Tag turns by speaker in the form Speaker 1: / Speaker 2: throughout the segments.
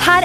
Speaker 1: her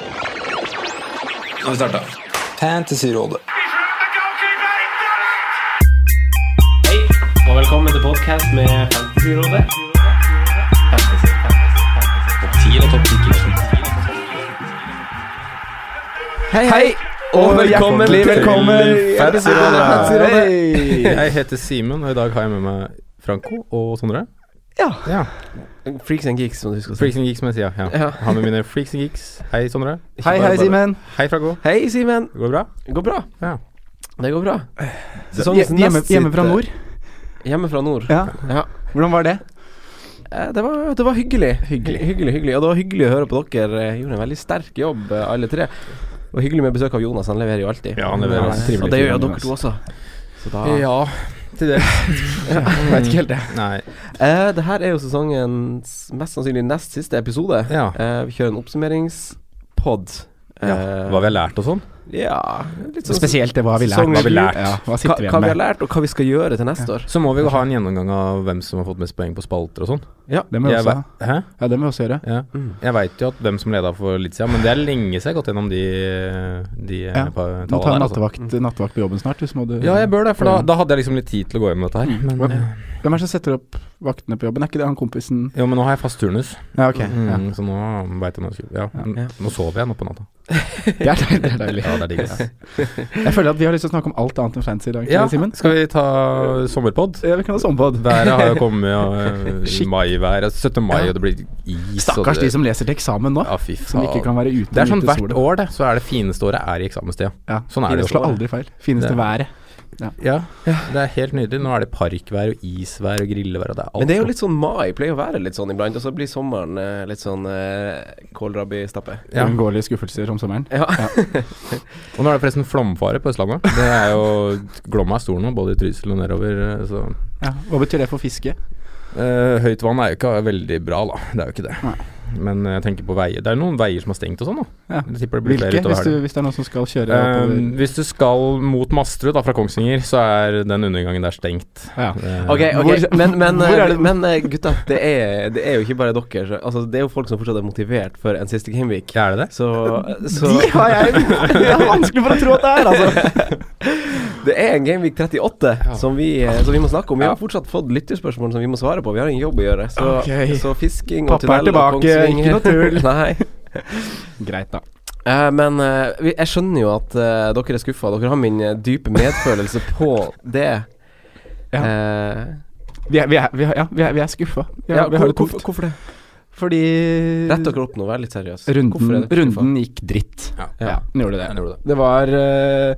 Speaker 2: Nå har vi starta. Fantasyrådet.
Speaker 3: Hei, og velkommen til podcast med Fantasyrådet. Topp 10 eller topp 10?
Speaker 2: Hei, hei, og velkommen, til Fantasyrådet.
Speaker 4: Jeg heter Simen, og i dag har jeg med meg Franco og Sondre.
Speaker 2: Ja.
Speaker 4: Ja.
Speaker 3: Freaks and geeks, som du skal si.
Speaker 4: Freaks and geeks, som jeg sier. Ja.
Speaker 3: Ja.
Speaker 4: Jeg Har med mine freaks and geeks. Hei, Sondre. Ikke
Speaker 2: Hei,
Speaker 4: bare
Speaker 2: hei,
Speaker 4: bare-
Speaker 2: Simen.
Speaker 4: Hei, Franco.
Speaker 3: Hei, Simen.
Speaker 4: Går det bra?
Speaker 3: Det går bra.
Speaker 4: Ja.
Speaker 3: Det går bra. Sesongens
Speaker 2: Hje- Hjemme,
Speaker 3: nest
Speaker 2: hjemme fra
Speaker 3: siste-
Speaker 2: nord.
Speaker 3: Hjemme fra nord.
Speaker 2: Ja.
Speaker 3: Ja.
Speaker 2: Hvordan var det?
Speaker 3: Eh, Det var, det var hyggelig. hyggelig. Hyggelig, hyggelig. Og det var hyggelig å høre på dere. Eh, Gjorde en veldig sterk jobb, eh, alle tre. Og hyggelig med besøk av Jonas. Han leverer jo alltid.
Speaker 4: Ja, han leverer alltid.
Speaker 3: Og
Speaker 4: Trivelig
Speaker 3: det gjør
Speaker 4: fyr,
Speaker 3: jo dere
Speaker 4: Jonas.
Speaker 3: to også. Så da
Speaker 4: Ja, til det.
Speaker 3: Jeg vet ikke helt det.
Speaker 4: Nei.
Speaker 3: Eh, det her er jo sesongens mest sannsynlig nest siste episode.
Speaker 4: Ja.
Speaker 3: Eh, vi kjører en oppsummeringspod. Eh,
Speaker 4: Hva vi har lært og sånn.
Speaker 3: ja, litt sånn
Speaker 2: Spesielt det hva vi lærte.
Speaker 3: Sesongen
Speaker 4: Hva vi
Speaker 3: ut.
Speaker 4: lærte.
Speaker 2: Ja, hva
Speaker 3: Hva,
Speaker 2: sitter vi
Speaker 3: hva
Speaker 2: igjen
Speaker 3: vi har
Speaker 2: med?
Speaker 3: lært, og hva vi skal gjøre til neste år.
Speaker 4: Så må vi jo ha en gjennomgang av hvem som har fått mest poeng på spalter og sånn.
Speaker 2: Det må vi
Speaker 4: Jeg
Speaker 2: også,
Speaker 4: ve- Hæ?
Speaker 2: ja, det må vi også gjøre.
Speaker 4: Ja. Jeg veit jo at hvem som leda for litt siden, men det er lenge siden jeg har gått gjennom de, de
Speaker 2: Ja.
Speaker 4: ja. tallene
Speaker 2: Må
Speaker 4: der, altså.
Speaker 2: ta nattevakt, Mm. nattevakt på jobben snart. hvis må du
Speaker 4: Ja, jeg bør det, for da, da hadde jeg liksom litt tid til å gå gjennom dette her. Men, eh,
Speaker 2: Hvem hvem er det som setter opp vaktene på jobben? Er ikke det han kompisen
Speaker 4: Jo, men nå har jeg fast turnus,
Speaker 2: Ja, ok. Ja.
Speaker 4: mm, så nå veit jeg når jeg skal ja.
Speaker 3: Ja.
Speaker 4: Nå sover jeg nå på natta.
Speaker 2: Det er deilig. Det er deilig.
Speaker 4: Ja, det er digg. ass.
Speaker 2: Jeg føler at vi har lyst til å snakke om alt annet enn fancy i dag.
Speaker 4: Ja,
Speaker 2: Simen?
Speaker 4: skal vi ta sommerpod?
Speaker 2: Ja, vi kan ha sommerpod.
Speaker 4: Været har jo kommet, og eh,
Speaker 2: Shit.
Speaker 4: maiværet 17. mai,
Speaker 2: Ja.
Speaker 4: og det blir is og
Speaker 2: Stakkars
Speaker 4: det,
Speaker 2: de som leser til eksamen nå,
Speaker 4: ja, fy faen.
Speaker 2: som ikke kan være ute
Speaker 4: Det er sånn
Speaker 2: ute i
Speaker 4: hvert
Speaker 2: sola.
Speaker 4: år, det. Så er det fineste året er i eksamenstida.
Speaker 2: Ja.
Speaker 4: Sånn er det
Speaker 2: det
Speaker 4: jo.
Speaker 2: slår aldri feil. Fineste
Speaker 4: Det-
Speaker 2: været.
Speaker 4: Ja, det er helt nydelig. Nå er det parkvær og isvær og grillevær, og det er alt.
Speaker 3: Men det er jo
Speaker 4: sånn.
Speaker 3: litt sånn mai, pleier å være litt sånn iblant. Og så blir sommeren eh, litt sånn eh, kålrabistappe.
Speaker 4: Ja.
Speaker 2: Uunngåelige skuffelser om sommeren.
Speaker 3: Ja.
Speaker 4: Og nå er det forresten flomfare på Østlandet. Det er jo Glomma er stor nå, både i Trysil og nedover. eh, Så
Speaker 2: Ja. Hva betyr det for fiske?
Speaker 4: Eh, høyt vann er jo ikke veldig bra, da. Det er jo ikke det.
Speaker 2: Nei.
Speaker 4: Men eh, jeg tenker på veier. Det er noen veier som er stengt og sånn, da.
Speaker 2: Ja.
Speaker 4: Jeg tipper det blir flere
Speaker 2: Hvilke,
Speaker 4: utover
Speaker 2: hvis, du,
Speaker 4: helgen.
Speaker 2: hvis det er noen som skal kjøre
Speaker 4: Eh,
Speaker 2: oppover?
Speaker 4: hvis du skal mot Masterud da, fra Kongsvinger, så er den undergangen der stengt.
Speaker 2: Ja.
Speaker 4: Eh,
Speaker 3: Ok, ok,
Speaker 2: Hvor-
Speaker 3: men, men,
Speaker 2: hvor er det-
Speaker 3: men eh, gutta, det er, det er jo ikke bare dere. så- Altså, det er jo folk som fortsatt er motivert for en siste gameweek.
Speaker 4: Er det det?
Speaker 3: Så, så
Speaker 2: De har jeg Det er vanskelig for å tro at det er, altså.
Speaker 3: Det er en Gameweek 38 som, vi, eh, som vi må snakke om. Vi har fortsatt fått lytterspørsmål som vi må svare på. Vi har en jobb å gjøre. Så,
Speaker 2: Ok.
Speaker 3: så fisking og
Speaker 2: Pappa
Speaker 3: tunnel
Speaker 2: er
Speaker 3: og
Speaker 2: tilbake,
Speaker 3: Kongsvinger-
Speaker 2: ikke noe tull.
Speaker 3: Nei.
Speaker 2: Greit, da.
Speaker 3: Eh, men eh, vi, jeg skjønner jo at eh, dere er skuffa. Dere har min eh, dype medfølelse på det.
Speaker 2: Ja.
Speaker 3: Eh,
Speaker 2: Vi er, vi er, vi er, ja, vi er, vi er skuffa. Vi,
Speaker 3: ja,
Speaker 2: har- vi har det
Speaker 3: hvorfor,
Speaker 2: tungt.
Speaker 3: hvorfor det?
Speaker 2: Fordi
Speaker 3: Rett dere opp nå, vær litt seriøs. Hvorfor er
Speaker 2: runden,
Speaker 3: dere
Speaker 2: runden gikk dritt.
Speaker 4: Ja.
Speaker 2: Ja, den gjorde det.
Speaker 4: Den gjorde det.
Speaker 2: Det var eh,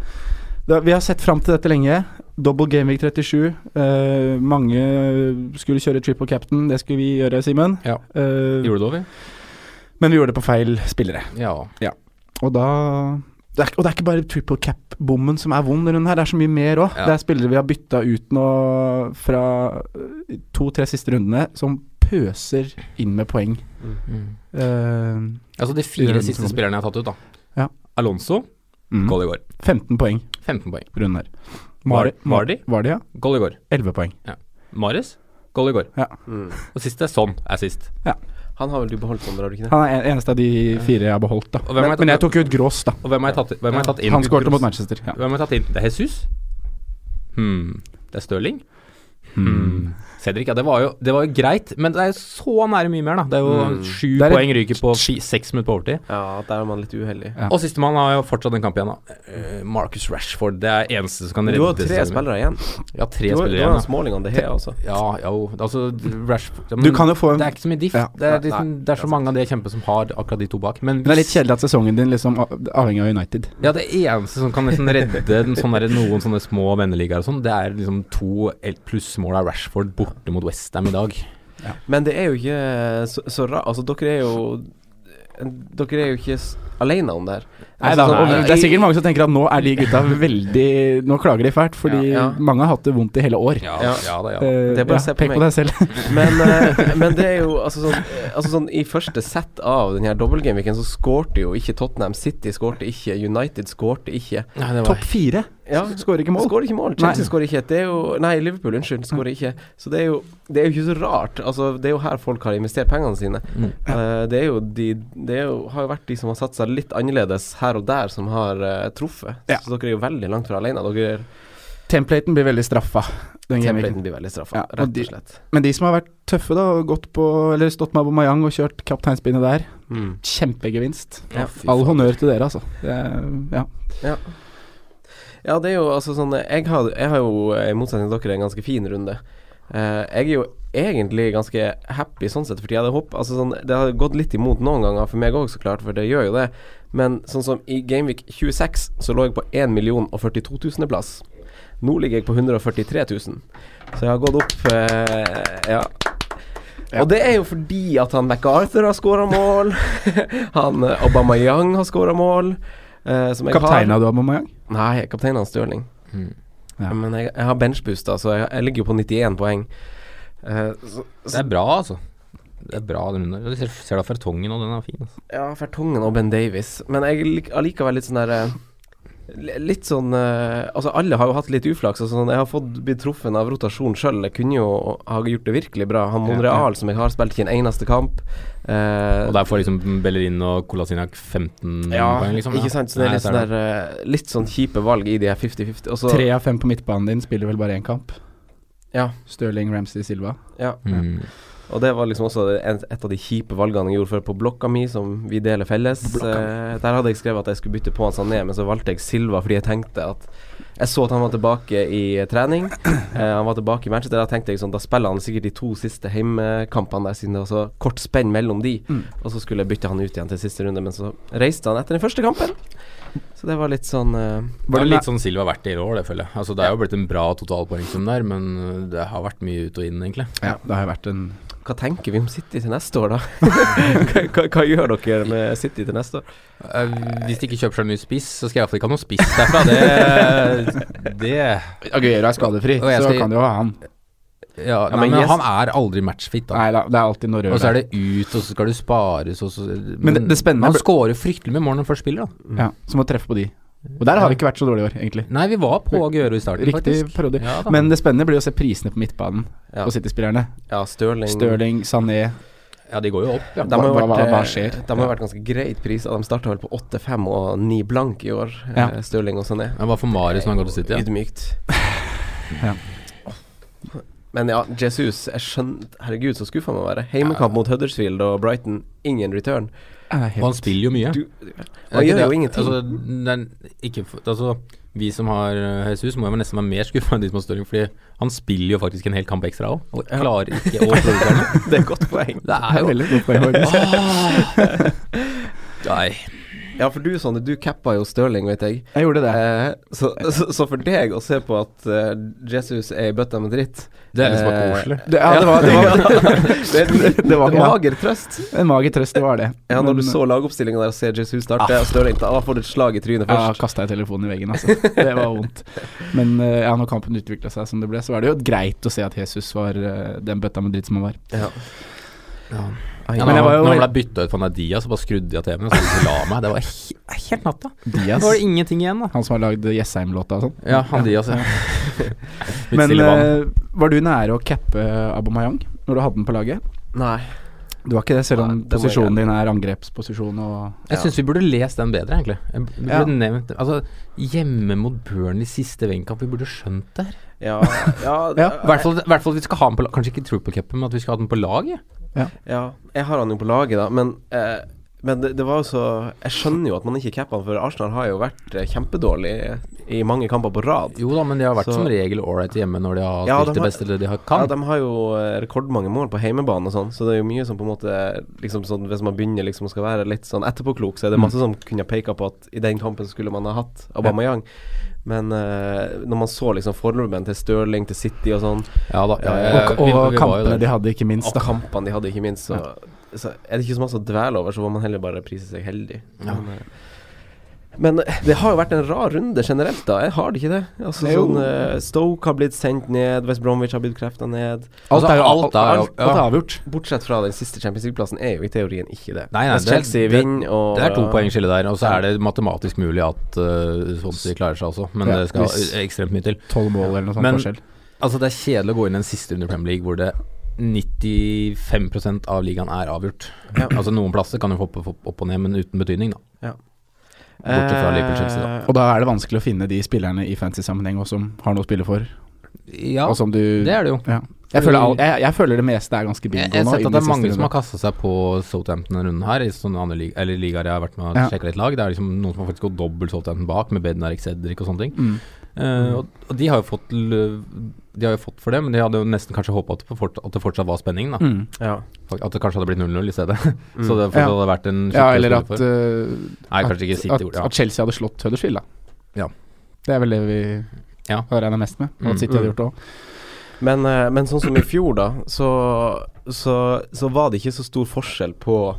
Speaker 2: det, Vi har sett fram til dette lenge. Double Gameweek 37. eh, mange skulle kjøre triple captain, det skulle vi gjøre, Simen.
Speaker 4: Ja.
Speaker 2: Eh,
Speaker 4: Gjorde du det, Ovi?
Speaker 2: men vi gjorde det på feil spillere.
Speaker 4: Ja.
Speaker 2: Og da det er, ikke- Og det er ikke bare triple cap-bommen som er vond denne runden her, det er så mye mer òg.
Speaker 4: Ja.
Speaker 2: Det er spillere vi har bytta ut nå fra eh, to-tre siste rundene, som pøser inn med poeng.
Speaker 4: Mm.
Speaker 2: Eh,
Speaker 4: Altså de fire siste spillerne jeg har tatt ut, da.
Speaker 2: Ja.
Speaker 4: Alonso,
Speaker 2: mm.
Speaker 4: goal i går.
Speaker 2: 15 poeng
Speaker 4: 15 poeng.
Speaker 2: runden her.
Speaker 4: Var-
Speaker 2: Mari- Mar-
Speaker 4: Vardy?
Speaker 2: Vardy, ja.
Speaker 4: Goal i går.
Speaker 2: 11 poeng.
Speaker 4: Mares, goal i går.
Speaker 2: Ja.
Speaker 4: Og siste er sånn, er sist.
Speaker 3: Han har vel du beholdt, Sondre, har du ikke det?
Speaker 2: Han er en- eneste av de fire jeg har beholdt, da.
Speaker 4: Og hvem har
Speaker 2: Men,
Speaker 4: jeg tatt-
Speaker 2: men jeg tok jo ut Grås, da.
Speaker 4: Og hvem har jeg tatt, hvem har jeg tatt inn?
Speaker 2: Han skåret mot Manchester. Ja.
Speaker 4: Hvem har jeg tatt inn? Det er Jesus? Hmm. Det er Stirling? Cedric, ja, det var, jo, det var jo greit, men det er jo så nære mye mer, da. Det er jo
Speaker 3: Hmm.
Speaker 4: sju
Speaker 2: Det er et-
Speaker 4: poeng ryker på fi, seks minutter på overtid.
Speaker 3: Ja, der er man litt uheldig.
Speaker 4: Og sistemann har jo fortsatt en kamp igjen, da. Eh, Marcus Rashford. Det er eneste som kan
Speaker 3: Du
Speaker 4: redde
Speaker 3: har tre
Speaker 4: sesongen.
Speaker 3: spillere igjen.
Speaker 4: Ja, tre
Speaker 3: Du har,
Speaker 4: spillere
Speaker 3: du har
Speaker 4: igjen.
Speaker 3: en
Speaker 4: Da.
Speaker 3: Smalling og De Gea også.
Speaker 4: Ja, jo, altså Rashford ja,
Speaker 2: Du kan jo få en
Speaker 4: Det er ikke så mye diff.
Speaker 2: Ja.
Speaker 4: Det, er
Speaker 3: Nei,
Speaker 4: liksom,
Speaker 3: nei,
Speaker 4: det er så mange av de jeg kjemper som har akkurat de to bak. Men
Speaker 2: Men det er
Speaker 4: hvis-
Speaker 2: litt kjedelig at sesongen din liksom av- avhenger av United.
Speaker 4: Ja, det eneste som kan nesten redde den sånn der, noen sånne små venneligaer og sånn, det er liksom to el- plussmål av Rashford borte mot Westham i dag.
Speaker 3: Men det er jo ikke så, så rart Altså, dere er jo Dere er jo ikke s- alene om det her.
Speaker 2: Nei,
Speaker 3: Altså,
Speaker 2: da,
Speaker 3: sånn-
Speaker 2: og
Speaker 3: Nei.
Speaker 2: det er sikkert mange som tenker at nå er de gutta veldig Nå klager de fælt, fordi
Speaker 3: Ja, ja.
Speaker 2: mange har hatt det vondt i hele år.
Speaker 4: Ja,
Speaker 3: Ja.
Speaker 4: da, ja.
Speaker 2: Eh,
Speaker 3: Det er bare å se på
Speaker 2: pek
Speaker 3: meg.
Speaker 2: på deg selv.
Speaker 3: Men, eh, men det er jo altså sånn, eh, altså sånn I første sett av den her dobbeltgameweeken så skårte jo ikke Tottenham. City skårte ikke. United skårte ikke.
Speaker 2: Topp fire
Speaker 3: Ja,
Speaker 2: skårer ikke mål.
Speaker 3: skårer ikke mål. Chelsea skårer ikke. Det er jo Nei, Liverpool, unnskyld, skårer ikke. Så det er jo Det er jo ikke så rart. Altså, det er jo her folk har investert pengene sine. Eh, det er jo de Det er jo, har jo vært de som har satsa litt annerledes her og der, som har eh, truffet.
Speaker 2: Ja.
Speaker 3: Så dere er jo veldig langt fra alene. Dere
Speaker 2: Templaten blir veldig straffa. Den gameweeken.
Speaker 3: Templaten blir veldig straffa,
Speaker 2: Ja, og
Speaker 3: rett
Speaker 2: de-
Speaker 3: og slett.
Speaker 2: Men de som har vært tøffe, da, og gått på Eller stått med Aubameyang og kjørt kapteinspinnet der,
Speaker 3: Mm.
Speaker 2: kjempegevinst.
Speaker 3: Ja.
Speaker 2: All honnør til dere, altså. Det er, ja.
Speaker 3: Ja, det er jo altså sånn Jeg har, jeg har jo, eh, i motsetning til dere, en ganske fin runde. Eh, jeg er jo egentlig ganske happy sånn sett, fordi jeg hadde håpet altså sånn, Det har gått litt imot noen ganger for meg òg, så klart, for det gjør jo det. Men sånn som i Gameweek 26 så lå jeg på 1 042 000 plass. Nå ligger jeg på 143 000, så jeg har gått opp eh, ja. Og det er jo fordi at han MacArthur har skåra mål. han eh, Aubameyang har skåra mål. eh, som jeg har.
Speaker 2: Kapteina du Aubameyang?
Speaker 3: Nei, kapteinen hans Stirling.
Speaker 2: Ja.
Speaker 3: Men jeg, jeg har benchboosta, så jeg, jeg ligger jo på 91 poeng. Eh, så,
Speaker 4: Det er bra, altså. Det er bra den runden. der. Du ser, ser da Fertongen, og den er fin. Altså.
Speaker 3: ja, Fertongen og Ben Davies. Men jeg lik, allikevel litt sånn der eh, li- Litt sånn eh, Altså, alle har jo hatt litt uflaks. og sånn, jeg har fått blitt truffet av rotasjon sjøl. Jeg kunne jo ha gjort det virkelig bra. Han Monreal, som jeg har spilt ikke en eneste kamp. eh,
Speaker 4: Og der får liksom Bellerin og Kolasinac 15
Speaker 3: ja,
Speaker 4: poeng, liksom.
Speaker 3: ikke sant? Så det er
Speaker 4: Nei,
Speaker 3: litt sånn der eh, Litt sånn kjipe valg i de her 50-50. Og så
Speaker 2: Tre av fem på midtbanen din spiller vel bare én kamp.
Speaker 3: Ja.
Speaker 2: Stirling, Ramsey, Silva.
Speaker 3: ja.
Speaker 4: Mm.
Speaker 3: Og det var liksom også en- et av de kjipe valgene jeg gjorde før på blokka mi, som vi deler felles. Eh, der hadde jeg skrevet at jeg skulle bytte på han Sané, men så valgte jeg Silva fordi jeg tenkte at Jeg så at han var tilbake i trening. Eh, han var tilbake i Manchester. Da tenkte jeg sånn, da spiller han sikkert de to siste hjemmekampene der, siden det var så kort spenn mellom de. Og så skulle jeg bytte han ut igjen til siste runde, men så reiste han etter den første kampen. Så det var litt sånn eh,
Speaker 4: Det er
Speaker 2: det
Speaker 4: jo litt sånn Silva vært i år, det føler jeg. Altså, det er jo blitt en bra totalpoengsum der, men øh, det har vært mye ut og inn, egentlig.
Speaker 2: Ja, det har jo vært en
Speaker 3: Hva tenker vi om City til neste år, da? hva, hva, hva gjør dere med City til neste år?
Speaker 4: Eh, hvis de ikke kjøper seg en ny spiss, så skal jeg iallfall ikke ha noe spiss derfra. Det, det
Speaker 2: Aguero er skadefri,
Speaker 4: Og jeg
Speaker 2: så
Speaker 4: skal-
Speaker 2: kan du jo ha han.
Speaker 4: Ja, nei,
Speaker 3: men
Speaker 4: men,
Speaker 3: yes.
Speaker 4: han er aldri matchfit, da.
Speaker 2: Nei da, det er alltid noe rør
Speaker 4: Og så er
Speaker 2: der.
Speaker 4: det ut, og så skal du spares, og så
Speaker 2: Men det- det spennende
Speaker 4: Han
Speaker 2: ble-
Speaker 4: scorer fryktelig mye mål når han først spiller, da.
Speaker 2: Ja, så må treffe på de. Og der har vi ikke vært så dårlige i år, egentlig.
Speaker 4: Nei, vi var på Aguero i starten,
Speaker 2: Riktig
Speaker 4: faktisk.
Speaker 2: parodi.
Speaker 4: Ja, da.
Speaker 2: Men det spennende blir å se prisene på midtbanen
Speaker 3: Ja.
Speaker 2: på City-spillerne.
Speaker 3: Ja, Stirling
Speaker 2: Stirling, Sané
Speaker 4: Ja, de går jo opp, ja.
Speaker 3: De har jo
Speaker 2: Hva-
Speaker 3: vært,
Speaker 2: hva- hva
Speaker 3: eh,
Speaker 2: skjer?
Speaker 3: De har vært ganske greit prisa. De starta vel på 8-5 og 9 blank i år,
Speaker 2: Ja.
Speaker 3: eh, Stirling og Sané.
Speaker 4: Det var for Marius når han går til City, ja.
Speaker 3: Ydmykt.
Speaker 2: Ja.
Speaker 3: Men ja, Jesus jeg skjønner, Herregud, så skuffa man må være. Heimekamp mot Huddersfield og Brighton, ingen return.
Speaker 2: er
Speaker 4: Og han
Speaker 2: helt
Speaker 4: spiller jo mye.
Speaker 3: Du,
Speaker 4: Det er
Speaker 3: man
Speaker 4: ikke
Speaker 3: gjør jo
Speaker 4: det-
Speaker 3: ingenting.
Speaker 4: Altså, den, ikke, for- altså, vi som har eh, Jesus, må jo nesten være mer skuffa enn de som har Stirling, fordi han spiller jo faktisk en hel kamp ekstra òg, og klarer ikke å produsere noe.
Speaker 3: det er et godt poeng.
Speaker 4: Det er jo
Speaker 2: Veldig godt poeng, faktisk.
Speaker 4: Nei.
Speaker 3: Ja, for du, Sonne, du cappa jo Stirling, vet jeg.
Speaker 2: Jeg gjorde det.
Speaker 3: Eh, så, så, så for deg å se på at eh, Jesus er i bøtta med dritt
Speaker 4: Det er liksom bare
Speaker 3: eh,
Speaker 4: koselig.
Speaker 2: det, ja, det var, det var
Speaker 3: Det, det, det var
Speaker 2: Ja.
Speaker 3: mager trøst.
Speaker 2: en mager trøst, det var det.
Speaker 3: Ja, når du
Speaker 2: Men-
Speaker 3: så lagoppstillingen der og ser Jesus starte og Stirling ta, da får du et slag i trynet
Speaker 2: Ja,
Speaker 3: først.
Speaker 2: kasta jeg telefonen i veggen, altså. Det var vondt. Men eh, ja, når kampen utvikla seg som det ble, så var det jo greit å se at Jesus var eh, den bøtta med dritt som han var.
Speaker 3: Ja. Ai,
Speaker 4: Ja, når,
Speaker 2: Men jeg var jo-
Speaker 4: når han ble bytta ut for Nadia, så bare skrudde jeg TV-en og så ikke la meg. Det var he helt natta. Da
Speaker 2: Diaz,
Speaker 4: var det ingenting igjen, da.
Speaker 2: han som har lagd Jessheim-låta og sånn.
Speaker 4: Ja, han Diaz, ja. Litt
Speaker 2: Men
Speaker 4: stille vann.
Speaker 2: eh, var du nære å cappe Abomayang når du hadde den på laget?
Speaker 3: Nei.
Speaker 2: Du har ikke det, selv om
Speaker 3: Nei, det må jeg
Speaker 2: posisjonen
Speaker 3: gjerne.
Speaker 2: din er angrepsposisjon og
Speaker 4: Jeg syns vi burde lest den bedre, egentlig. Jeg b- burde
Speaker 2: Ja.
Speaker 4: nevnt Altså, hjemme mot Burnley siste vennkamp, vi burde skjønt det her.
Speaker 3: Ja, ja,
Speaker 2: Ja,
Speaker 4: I hvert fall i hvert fall at vi skal ha den på lag. Kanskje ikke Triple Cup, men at vi skal ha den på laget.
Speaker 3: Ja, jeg har han jo på laget, da, men, eh, men det, det var jo så Jeg skjønner jo at man ikke capper han, for Arsenal har jo vært eh, kjempedårlig i mange kamper på rad.
Speaker 4: Jo da, men de har vært
Speaker 3: Så-
Speaker 4: som regel ålreit hjemme når de har
Speaker 3: Ja,
Speaker 4: spilt
Speaker 3: de
Speaker 4: det
Speaker 3: har-
Speaker 4: beste eller de har
Speaker 3: Ja,
Speaker 4: kan.
Speaker 3: de har jo eh, rekordmange mål på heimebane og sånn, så det er jo mye som på en måte liksom sånn, Hvis man begynner liksom skal være litt sånn etterpåklok, så er det masse som kunne peka på at i den kampen så skulle man ha hatt Aubameyang. Men eh, når man så liksom forlommen til Stirling, til City og sånn,
Speaker 4: Ja da. Ja, ja,
Speaker 2: Og,
Speaker 4: vi- vi var
Speaker 2: og
Speaker 4: jo
Speaker 2: kampene
Speaker 4: der.
Speaker 2: de hadde, ikke minst.
Speaker 3: og
Speaker 2: Da.
Speaker 3: kampene de hadde, ikke minst, så, så er det ikke så masse å dvele over, så får man heller bare prise seg heldig. Men, eh, men eh, det har jo vært en rar runde generelt, da. Jeg har det ikke det? Altså,
Speaker 2: Jo.
Speaker 3: sånn, eh, Stoke har blitt sendt ned, West Bromwich har blitt krefta ned.
Speaker 4: Altså,
Speaker 2: Alt er jo
Speaker 4: alt er-
Speaker 2: alt- alt er
Speaker 4: ja.
Speaker 2: avgjort.
Speaker 3: Bortsett fra den siste Champions League-plassen er jo i teorien ikke det.
Speaker 4: Nei, nei,
Speaker 3: Hvis
Speaker 4: det er-
Speaker 3: Chelsea
Speaker 4: det-
Speaker 3: vinner og
Speaker 4: Det er to poengskille der, og så er det matematisk mulig at uh, Swansea klarer seg også, men
Speaker 2: Ja,
Speaker 4: det skal
Speaker 2: hvis-
Speaker 4: ekstremt mye til.
Speaker 2: Tolv mål eller noe sånt
Speaker 4: Men-
Speaker 2: forskjell.
Speaker 4: Altså, det er kjedelig å gå inn i en siste runde i Premier League hvor det 95 av ligaen er avgjort.
Speaker 3: Ja.
Speaker 4: Altså Noen plasser kan jo hoppe opp opp og ned, men uten betydning, da. bortsett
Speaker 3: borte
Speaker 4: fra Liverpool Chelsea, da.
Speaker 3: Eh,
Speaker 2: Og da er det vanskelig å finne de spillerne i fantasy-sammenheng også som har noe å spille for.
Speaker 4: Ja,
Speaker 2: og som du
Speaker 4: det er det jo.
Speaker 2: Ja. Jeg, føler all, jeg, jeg føler det meste er ganske bingo
Speaker 4: Jeg, jeg har
Speaker 2: nå.
Speaker 4: sett at
Speaker 2: innen
Speaker 4: det
Speaker 2: de
Speaker 4: er
Speaker 2: siste
Speaker 4: mange som
Speaker 2: rundene.
Speaker 4: har kasta seg på Southampton denne runden her, i sånne andre lig eller ligaer jeg har vært med og
Speaker 2: Ja.
Speaker 4: sjekka litt lag. Det er liksom noen som har faktisk gått dobbelt Southampton bak, med Bednarik Cedric og sånne ting.
Speaker 2: Mm.
Speaker 4: Eh, og, og de har jo fått l- De har jo fått for det, men de hadde jo nesten kanskje håpa at, det fort- at det fortsatt var spenning, da.
Speaker 2: Mm.
Speaker 3: Ja.
Speaker 4: Fak- At det kanskje hadde blitt 0-0 i stedet. Så det fortsatt
Speaker 2: Ja.
Speaker 4: hadde vært en
Speaker 2: Ja,
Speaker 4: skikkelig
Speaker 2: eller
Speaker 4: spiller
Speaker 2: at,
Speaker 4: for.
Speaker 2: uh,
Speaker 4: Nei, kanskje ikke
Speaker 2: at,
Speaker 4: City
Speaker 2: at,
Speaker 4: gjorde det.
Speaker 2: at Chelsea hadde slått Huddersfield, da.
Speaker 4: Ja.
Speaker 2: Det er vel det vi
Speaker 4: Ja.
Speaker 2: har regna mest med. Og
Speaker 4: Mm.
Speaker 2: at City hadde gjort det òg.
Speaker 3: Men, eh, men sånn som i fjor, da, så, så, så var det ikke så stor forskjell på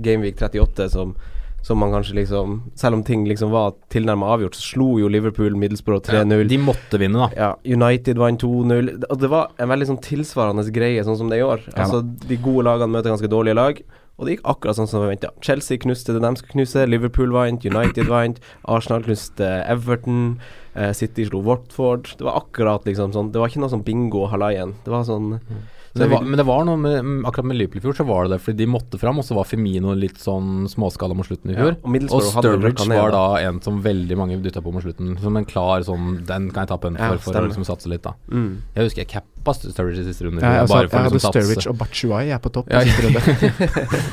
Speaker 3: Gameweek 38 som, som man kanskje liksom Selv om ting liksom var tilnærma avgjort, så slo jo Liverpool Middlesbrough 3-0.
Speaker 4: De måtte vinne, da.
Speaker 3: Ja, United vant 2-0. Og det var en veldig sånn tilsvarende greie, sånn som det er i år. Altså, De gode lagene møter ganske dårlige lag, og det gikk akkurat sånn som vi venta. Chelsea knuste det de skulle knuse, Liverpool vant, United vant, Arsenal knuste Everton, eh, City slo Watford. Det var akkurat liksom sånn. Det var ikke noe sånn bingo halaien. Det var sånn
Speaker 2: Mm.
Speaker 3: så
Speaker 4: Det
Speaker 3: jeg
Speaker 4: var,
Speaker 3: vil,
Speaker 4: men det var noe med mm, akkurat med Liverpool i fjor, så var det det fordi de måtte fram, og så var Femino litt sånn småskala mot slutten i fjor.
Speaker 3: Ja, og Middlesbrough
Speaker 4: og
Speaker 3: hadde vel
Speaker 4: Sturridge
Speaker 3: røkka ned,
Speaker 4: var da
Speaker 3: da.
Speaker 4: en som veldig mange dytta på mot slutten. Som en klar sånn Den kan jeg tappe en
Speaker 3: Ja,
Speaker 4: for, for å
Speaker 3: stemmer.
Speaker 4: liksom satse litt, da.
Speaker 3: Mm.
Speaker 4: Jeg husker jeg cappa Sturridge i siste runde.
Speaker 2: Jeg,
Speaker 4: bare
Speaker 2: altså, jeg
Speaker 4: for å
Speaker 2: hadde
Speaker 4: liksom satse.
Speaker 2: Sturridge og Batshuayi jeg er på topp.
Speaker 4: Ja,
Speaker 2: i siste runde.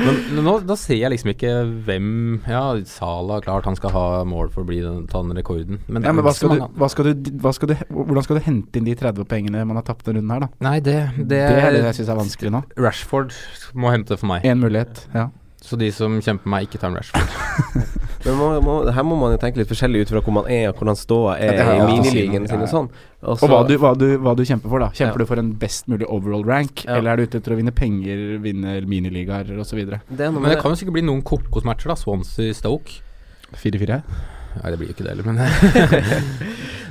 Speaker 4: Men, men nå da ser jeg liksom ikke hvem Ja, Salah, klart han skal ha mål for å bli den, ta den rekorden, men det
Speaker 2: Ja,
Speaker 4: er
Speaker 2: men
Speaker 4: ikke
Speaker 2: hva
Speaker 4: så
Speaker 2: skal,
Speaker 4: mange
Speaker 2: du, hva skal du, hva skal du, hvordan skal du hente inn de 30 poengene man har tapt denne runden her, da?
Speaker 4: Nei, det, det,
Speaker 2: Det er det jeg syns er vanskelig nå.
Speaker 4: Rashford må hente for meg.
Speaker 2: Én mulighet, ja.
Speaker 4: Så de som kjemper meg, ikke tar en Rashford.
Speaker 3: men må, må, her må man jo tenke litt forskjellig ut fra hvor man er, og hvordan ståa er
Speaker 2: det har
Speaker 3: i
Speaker 2: jeg alltid
Speaker 3: miniligaen
Speaker 2: siden,
Speaker 3: sin og
Speaker 2: ja,
Speaker 3: sånn. Og
Speaker 2: Og
Speaker 3: så-
Speaker 2: hva du, hva, du, hva du kjemper for, da. Kjemper
Speaker 3: Ja.
Speaker 2: du for en best mulig overall rank,
Speaker 3: Ja.
Speaker 2: eller er du ute etter å vinne penger, vinne miniligaer osv.?
Speaker 3: det er noe
Speaker 4: Men
Speaker 3: med
Speaker 4: det kan jo sikkert bli noen kokosmatcher, da. Swansea-Stoke.
Speaker 2: 4-4?
Speaker 4: Nei, det blir jo ikke det heller, men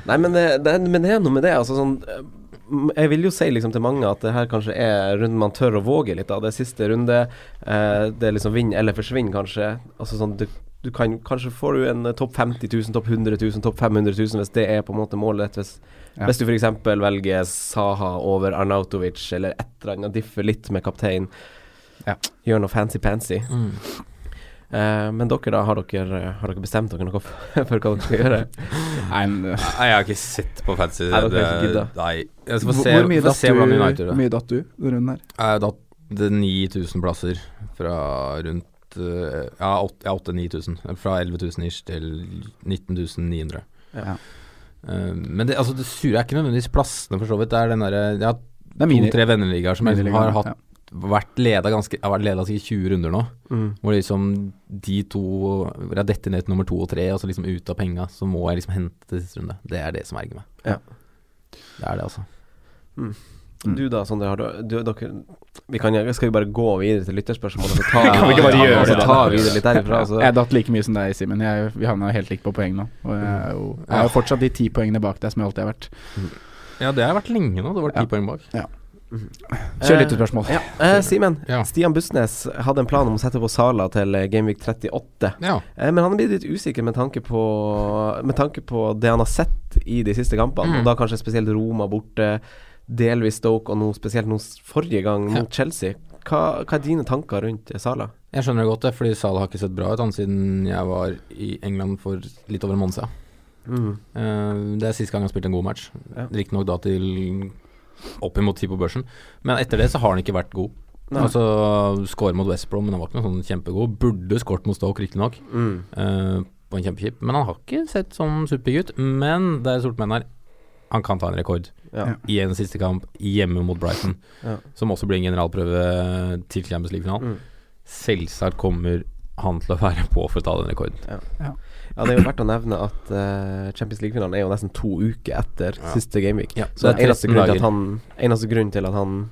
Speaker 3: Nei, men det, det, er- men det er noe med det. Altså, sånn, eh, jeg vil jo si liksom til mange at det her kanskje er runden man tør å våge litt. Da. Det er siste runde. eh, det er liksom vinn eller forsvinn, kanskje. Altså, sånn, du, du kan, kanskje får du en eh, topp 50 000, topp 100 000, topp 500 000 hvis det er på en måte målet ditt. Hvis,
Speaker 2: Ja.
Speaker 3: hvis du f.eks. velger Saha over Arnautovic eller et eller annet, differ litt med kaptein.
Speaker 2: Ja. Mm.
Speaker 3: Gjør noe fancy-pansy. Eh, men dere, da, har dere, har dere bestemt dere noe for, for hva dere skal gjøre?
Speaker 2: Nei, men øh,
Speaker 4: Nei, jeg har ikke sett på fancy.
Speaker 3: Nei, dere har ikke gidda.
Speaker 4: Nei. Jeg skal
Speaker 2: hvor,
Speaker 4: få se,
Speaker 2: hvor mye
Speaker 4: få
Speaker 2: datt
Speaker 4: se hvordan United
Speaker 2: du,
Speaker 4: gjør det.
Speaker 2: mye datt du denne runden her?
Speaker 4: Jeg datt det er 9000 plasser fra rundt eh, Ja, åt- ja, 8000-9000. Fra 11000 ish til 19900.
Speaker 2: Ja.
Speaker 4: Eh, men det, altså, det sure er ikke nødvendigvis plassene, for så vidt. Det er den derre Jeg har
Speaker 2: Det er mini-
Speaker 4: to-tre venneligaer som jeg liksom har
Speaker 2: miniligaer,
Speaker 4: hatt
Speaker 2: ja.
Speaker 4: vært leda ganske Jeg har vært leda sikkert 20 runder nå.
Speaker 3: Mm.
Speaker 4: Hvor liksom de to Hvor jeg detter ned til nummer to og tre, og så liksom ut av penga, så må jeg liksom hente til siste runde. Det er det som erger meg.
Speaker 3: Ja.
Speaker 4: Det er det, altså.
Speaker 2: Mm.
Speaker 3: Du da, Sondre, har du, du dere, vi kan, Skal vi bare gå videre til lytterspørsmål? og så ta-
Speaker 2: Kan vi ikke bare
Speaker 3: ja, altså,
Speaker 2: gjøre
Speaker 3: og så
Speaker 2: det,
Speaker 3: Ta
Speaker 2: da?
Speaker 3: videre litt derifra, altså. så.
Speaker 2: Jeg datt like mye som deg, Simen. Jeg- Vi havna helt likt på poeng nå. Og jeg er jo, jeg er jo fortsatt de ti poengene bak deg som jeg alltid har vært.
Speaker 4: Ja, det har vært lenge nå. Det var ti poeng bak.
Speaker 2: Kjør lyttespørsmål.
Speaker 3: Ja, eh, Simen,
Speaker 4: Ja.
Speaker 3: Stian Bustnes hadde en plan om å sette på Sala til eh, Gameweek 38.
Speaker 4: Ja.
Speaker 3: Eh, men han er blitt litt usikker med tanke på, med tanke på det han har sett i de siste
Speaker 2: Mm.
Speaker 3: kampene. Og da kanskje spesielt Roma borte, delvis Stoke, og nå spesielt nå s- forrige gang mot Chelsea. Hva, hva er dine tanker rundt Sala?
Speaker 4: Jeg skjønner det godt, det, fordi Salah har ikke sett bra ut han siden jeg var i England for litt over en måned siden. Eh, det er siste gang han spilte en god match.
Speaker 3: Mm. Ja.
Speaker 4: Riktignok da til opp imot ti på børsen, men etter det så har han ikke vært god.
Speaker 3: Nei.
Speaker 4: Altså, Skåre mot West Brom, men han var ikke noe sånn kjempegod. Burde skåret mot Stoke, riktignok,
Speaker 3: Mm.
Speaker 4: eh, på en kjempekjip, men han har ikke sett sånn superpigg ut. Men det er Sortmenn her. Han kan ta en rekord
Speaker 3: Ja.
Speaker 4: i en siste kamp hjemme mot Brighton,
Speaker 3: Ja.
Speaker 4: som også blir en generalprøve til Champions
Speaker 3: Mm.
Speaker 4: League-finalen. Selvsagt kommer han til å være på for å ta den rekorden.
Speaker 3: Ja, Det er jo verdt å nevne at eh, Champions League-finalen er jo nesten to uker etter siste gameweek.
Speaker 4: Ja,
Speaker 3: Så
Speaker 4: det er
Speaker 3: eneste
Speaker 4: 13
Speaker 3: grunn til at
Speaker 4: dager.
Speaker 3: han, eneste grunn til at han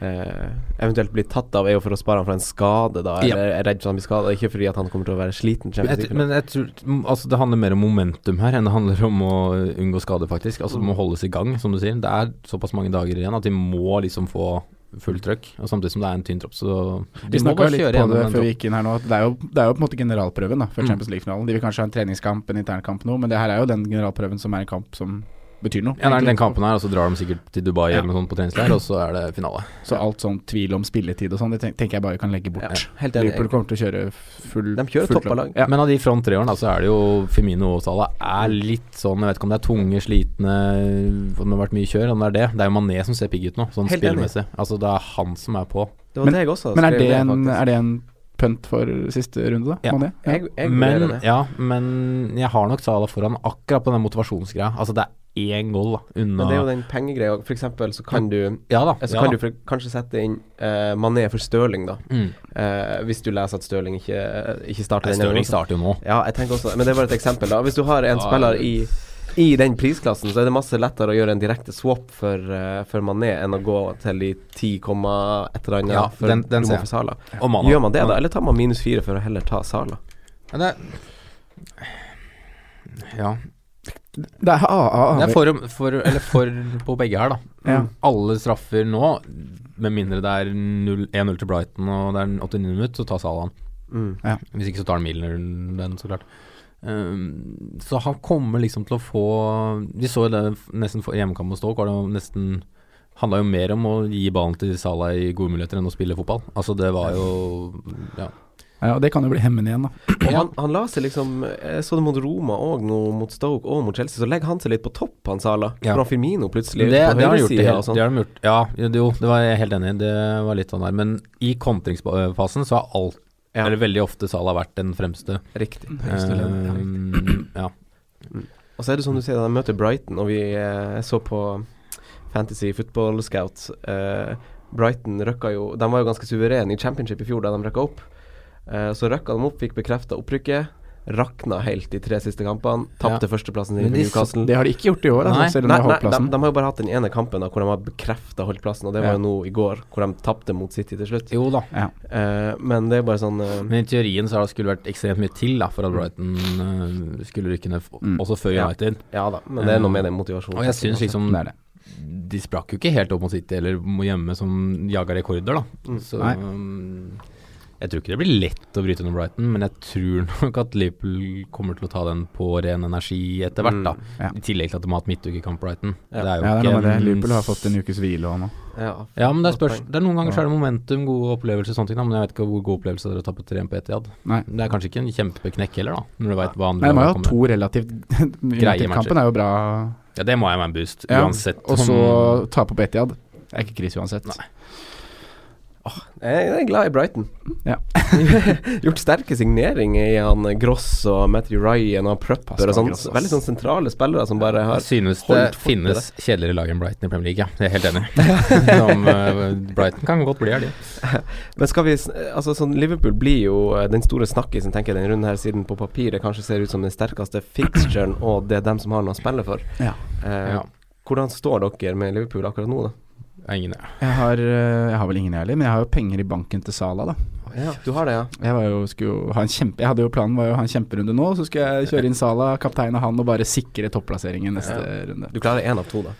Speaker 3: eh, eventuelt blir tatt av, er jo for å spare han for en skade, da.
Speaker 4: Ja.
Speaker 3: Eller er redd for at han blir skada. Ikke fordi at han kommer til å være sliten. Champions
Speaker 4: Jeg,
Speaker 3: League-finalen.
Speaker 4: tr- men jeg tror, m- altså det handler mer om momentum her enn det handler om å unngå skade, faktisk. Altså Det må
Speaker 2: Mm.
Speaker 4: holdes i gang, som du sier. Det er såpass mange dager igjen at de må liksom få fullt trøkk. Og Samtidig som det er en tynn tropp, så
Speaker 2: Vi
Speaker 4: de må
Speaker 2: snakka
Speaker 4: bare
Speaker 2: litt
Speaker 4: kjøre
Speaker 2: på det
Speaker 4: gjennom
Speaker 2: før
Speaker 4: den
Speaker 2: vi
Speaker 4: troppen.
Speaker 2: gikk inn her nå. at Det er jo, det er jo på en måte generalprøven da, før
Speaker 4: Mm.
Speaker 2: Champions League-finalen. De vil kanskje ha en treningskamp, en internkamp nå, men det her er jo den generalprøven som er en kamp som betyr noe.
Speaker 4: Ja, det er den
Speaker 2: egentlig.
Speaker 4: kampen her, og så drar de sikkert til Dubai
Speaker 2: Ja.
Speaker 4: eller noe sånt på treningsleir, og så er det finale.
Speaker 2: Så alt sånn tvil om spilletid og sånn, det tenk- tenker jeg bare kan legge bort.
Speaker 3: Ja, helt enig.
Speaker 2: Liverpool kommer til å kjøre full
Speaker 3: De kjører
Speaker 2: fullt
Speaker 3: toppa lag.
Speaker 2: Ja.
Speaker 4: Men av de front treeren, da, så er det jo Femino og Salah er litt sånn Jeg vet ikke om det er tunge, slitne, om det har vært mye kjør, om det er det. Det er jo Mané som ser pigg ut nå, sånn
Speaker 3: Helt enig.
Speaker 4: spillmessig. Altså, det er han som er på.
Speaker 3: Det var det jeg også
Speaker 2: Men er
Speaker 3: skrev
Speaker 2: det
Speaker 3: ned,
Speaker 2: en,
Speaker 3: faktisk.
Speaker 2: er det en pønt for siste runde, da?
Speaker 4: Ja.
Speaker 2: Mané?
Speaker 3: Jeg, jeg
Speaker 4: men,
Speaker 3: vurderer det.
Speaker 4: ja, men jeg har nok Salah foran akkurat på den motivasjonsgreia. Altså, det er én goal da, unna
Speaker 3: Men det er jo den pengegreia. For eksempel så kan du eh,
Speaker 4: Ja da.
Speaker 3: Så
Speaker 4: ja
Speaker 3: kan
Speaker 4: da.
Speaker 3: du for, kanskje sette inn eh, Mané for Stirling, da.
Speaker 4: Mm.
Speaker 3: Eh, hvis du leser at Stirling ikke, eh, ikke starter
Speaker 4: Nei,
Speaker 3: denne runden.
Speaker 4: Stirling starter jo nå.
Speaker 3: Ja, jeg tenker også Men det er bare et eksempel, da. Hvis du har en
Speaker 4: Ja,
Speaker 3: spiller
Speaker 4: jeg
Speaker 3: i, i den prisklassen, så er det masse lettere å gjøre en direkte swap for, eh, for Mané enn å gå til de 10, komma et eller annet
Speaker 4: Ja,
Speaker 3: for,
Speaker 4: den- den
Speaker 3: du
Speaker 4: ser
Speaker 3: må
Speaker 4: jeg.
Speaker 3: for Sala.
Speaker 4: Og Mané.
Speaker 3: Gjør man det, da? Eller tar man minus fire for å heller ta Sala?
Speaker 4: Ja, det er, ja.
Speaker 2: Det er
Speaker 4: Det er
Speaker 2: AAV.
Speaker 4: for, for, eller for på begge her, da.
Speaker 2: Ja.
Speaker 4: Alle straffer nå, med mindre det er 0 1-0 til Brighton og det er 89 minutter, så tar Salah han.
Speaker 3: Mm.
Speaker 2: Ja.
Speaker 4: Hvis ikke så tar han Milner den, så klart. Um, så han kommer liksom til å få Vi så jo det f- nesten for hjemmekamp mot Stoke, var det jo nesten Handla jo mer om å gi ballen til Salah i gode muligheter enn å spille fotball. Altså, det var jo Ja.
Speaker 2: Ja, og det kan jo bli hemmende igjen, da.
Speaker 3: Og han, han la seg liksom Jeg så det mot Roma og nå mot Stoke og mot Chelsea, så legger han seg litt på topp, han Sala.
Speaker 4: Ja.
Speaker 3: Fra Firmino plutselig
Speaker 4: det,
Speaker 3: på
Speaker 4: det har de gjort, det,
Speaker 3: høyresida
Speaker 4: hel-
Speaker 3: og sånn.
Speaker 4: det har de gjort. Ja, jo, det- jo, det var jeg helt enig i. Det var litt sånn der. Men i kontringsfasen så har alt,
Speaker 3: Ja.
Speaker 4: eller veldig ofte, Salah vært den fremste.
Speaker 3: Riktig.
Speaker 4: Ehm, ja.
Speaker 3: Og så er det som du sier, de møter Brighton, og vi eh, jeg så på Fantasy Football Scout. Eh, Brighton røkka jo De var jo ganske suverene i championship i fjor da de røkka opp. Eh, så røkka de opp, fikk bekrefta opprykket. Rakna helt de tre siste kampene. Tapte førsteplassen sin
Speaker 4: Men
Speaker 3: for
Speaker 4: de-
Speaker 3: Newcastle.
Speaker 2: Det har de ikke gjort i år, altså,
Speaker 4: Nei,
Speaker 2: selv om
Speaker 3: Nei, nei
Speaker 2: de har
Speaker 3: de,
Speaker 2: holdplassen.
Speaker 3: de har jo bare hatt den ene kampen da, hvor de har bekrefta holdplassen, og det var
Speaker 2: Ja.
Speaker 3: jo nå i går, hvor de tapte mot City til slutt.
Speaker 4: Jo da.
Speaker 3: Eh, men det er bare sånn eh,
Speaker 4: Men i teorien så har det skulle vært ekstremt mye til da, for at Brighton eh, skulle rykke ned, f-
Speaker 2: Mm.
Speaker 4: også før
Speaker 3: Ja.
Speaker 4: United.
Speaker 3: Ja da, men det er noe med den motivasjonen.
Speaker 4: Eh, Og jeg syns liksom
Speaker 2: Det er det.
Speaker 4: De sprakk jo ikke helt opp mot City eller mot hjemme, som jaga rekorder, da. Så
Speaker 2: Nei.
Speaker 4: um, jeg tror ikke det blir lett å bryte under Brighton, men jeg tror nok at Liverpool kommer til å ta den på ren energi etter hvert, da.
Speaker 2: Ja.
Speaker 4: I tillegg til at de har hatt midtukekamp Brighton.
Speaker 3: Mm. Ja.
Speaker 4: Det er jo
Speaker 2: Ja, det er
Speaker 4: ikke
Speaker 2: noe med det.
Speaker 4: en-
Speaker 2: Liverpool har fått en ukes hvile og nå.
Speaker 3: ja,
Speaker 4: Ja, men det er,
Speaker 3: godt
Speaker 4: spørs,
Speaker 3: poeng.
Speaker 4: det er noen ganger så er det momentum, gode opplevelser og sånne ting, da, men jeg vet ikke hvor god opplevelse det er å tape 3-1 på Etihad.
Speaker 2: Nei.
Speaker 4: Det er kanskje ikke en kjempeknekk heller, da, når du veit hva andre
Speaker 2: Nei, de har
Speaker 4: lag
Speaker 2: jo hatt
Speaker 4: kommer med.
Speaker 2: to relativt United-kampen er jo bra.
Speaker 4: Ja, det må jeg være en boost,
Speaker 2: Ja,
Speaker 4: uansett.
Speaker 2: Og så
Speaker 4: om-
Speaker 2: tape på Etiad. Det er ikke krise uansett.
Speaker 3: Jeg jeg er glad i Brighton.
Speaker 2: Ja.
Speaker 3: Gjort sterke signeringer i han Gross og Matthew Ryan og Prupper
Speaker 2: Pascal
Speaker 3: og sånn.
Speaker 2: Gross, ass.
Speaker 3: Veldig sånn sentrale spillere som bare
Speaker 4: Jeg
Speaker 3: har
Speaker 4: synes det
Speaker 3: holdt fort i
Speaker 4: finnes kjedeligere lag enn Brighton i Premier League, ja. Jeg er helt enig. Som, eh, Brighton kan godt bli her, de.
Speaker 3: Men skal vi s- Altså, sånn Liverpool blir jo eh, den store snakkisen, tenker jeg, den runden her, siden på papiret kanskje ser ut som den sterkeste fixturen, og det er dem som har noe å spille for.
Speaker 2: Ja.
Speaker 3: Eh,
Speaker 4: Ja.
Speaker 3: Hvordan står dere med Liverpool akkurat nå, da?
Speaker 4: Ja, Ingen, ja.
Speaker 2: Jeg har, eh, jeg har vel ingen, jeg heller, men jeg har jo penger i banken til Sala, da.
Speaker 3: Du har det, ja?
Speaker 2: Jeg, var jo, skulle jo ha en kjempe, jeg hadde jo planen var jo å ha en kjemperunde nå, så skulle jeg kjøre inn Sala, kaptein og han, og bare sikre topplasseringen neste runde.
Speaker 3: Du klarer én av to, da.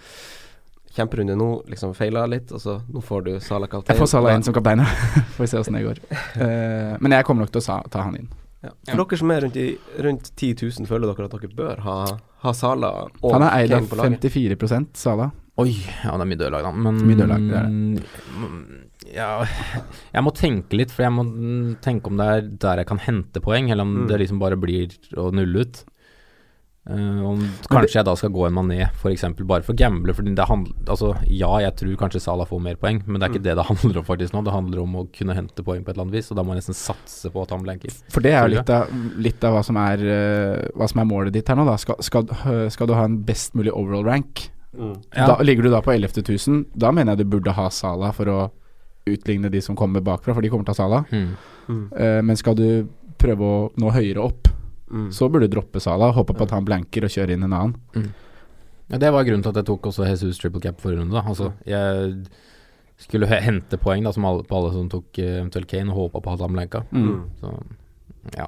Speaker 3: Kjemperunde nå, liksom feila litt, og så nå får du Salah Kaltein.
Speaker 2: Jeg får Sala inn som kaptein, ja. Får vi se åssen det går. Eh, men jeg kommer nok til å sa, ta han inn.
Speaker 3: Ja. For dere som er rundt, i, rundt 10 000, føler dere at dere bør ha, ha Salah og
Speaker 2: Han er eid
Speaker 3: Kane
Speaker 2: av
Speaker 3: på laget?
Speaker 2: 54 Sala.
Speaker 4: Oi, ja det er mye dørlag, da. Men mm,
Speaker 2: Mye dørlag, det er
Speaker 4: Ja, jeg må tenke litt, for jeg må tenke om det er der jeg kan hente poeng, eller
Speaker 2: Mm.
Speaker 4: om det liksom bare blir å nulle ut. Eh, om kanskje jeg da skal gå en mané, f.eks., bare for å gamble. Fordi det handler, altså, ja, jeg tror kanskje Salah får mer poeng, men det
Speaker 2: Mm.
Speaker 4: er ikke det det handler om faktisk nå. Det handler om å kunne hente poeng på et eller annet vis, og da må jeg nesten satse på at han blanker.
Speaker 2: For det er jo
Speaker 4: Følger.
Speaker 2: litt av, litt av hva, som er, eh, hva som er målet ditt her nå, da. Skal, skal, øh, skal du ha en best mulig overall rank,
Speaker 3: Mm.
Speaker 2: da, ligger du da på 11 000, da mener jeg du burde ha Sala for å utligne de som kommer bakfra, for de kommer til å ha Sala.
Speaker 4: Mm.
Speaker 2: Eh, men skal du prøve å nå høyere opp,
Speaker 4: Mm.
Speaker 2: så burde du droppe Sala, håpe på at han blanker og kjøre inn en annen.
Speaker 4: Ja, det var grunnen til at jeg tok også Jesus triple cap forrige runde. Da. Altså, jeg skulle he- hente poeng da, som alle, på alle som tok eh, eventuelt Kane, og håpa på at han blanka.
Speaker 3: Mm.
Speaker 2: Mm.
Speaker 4: Så, ja.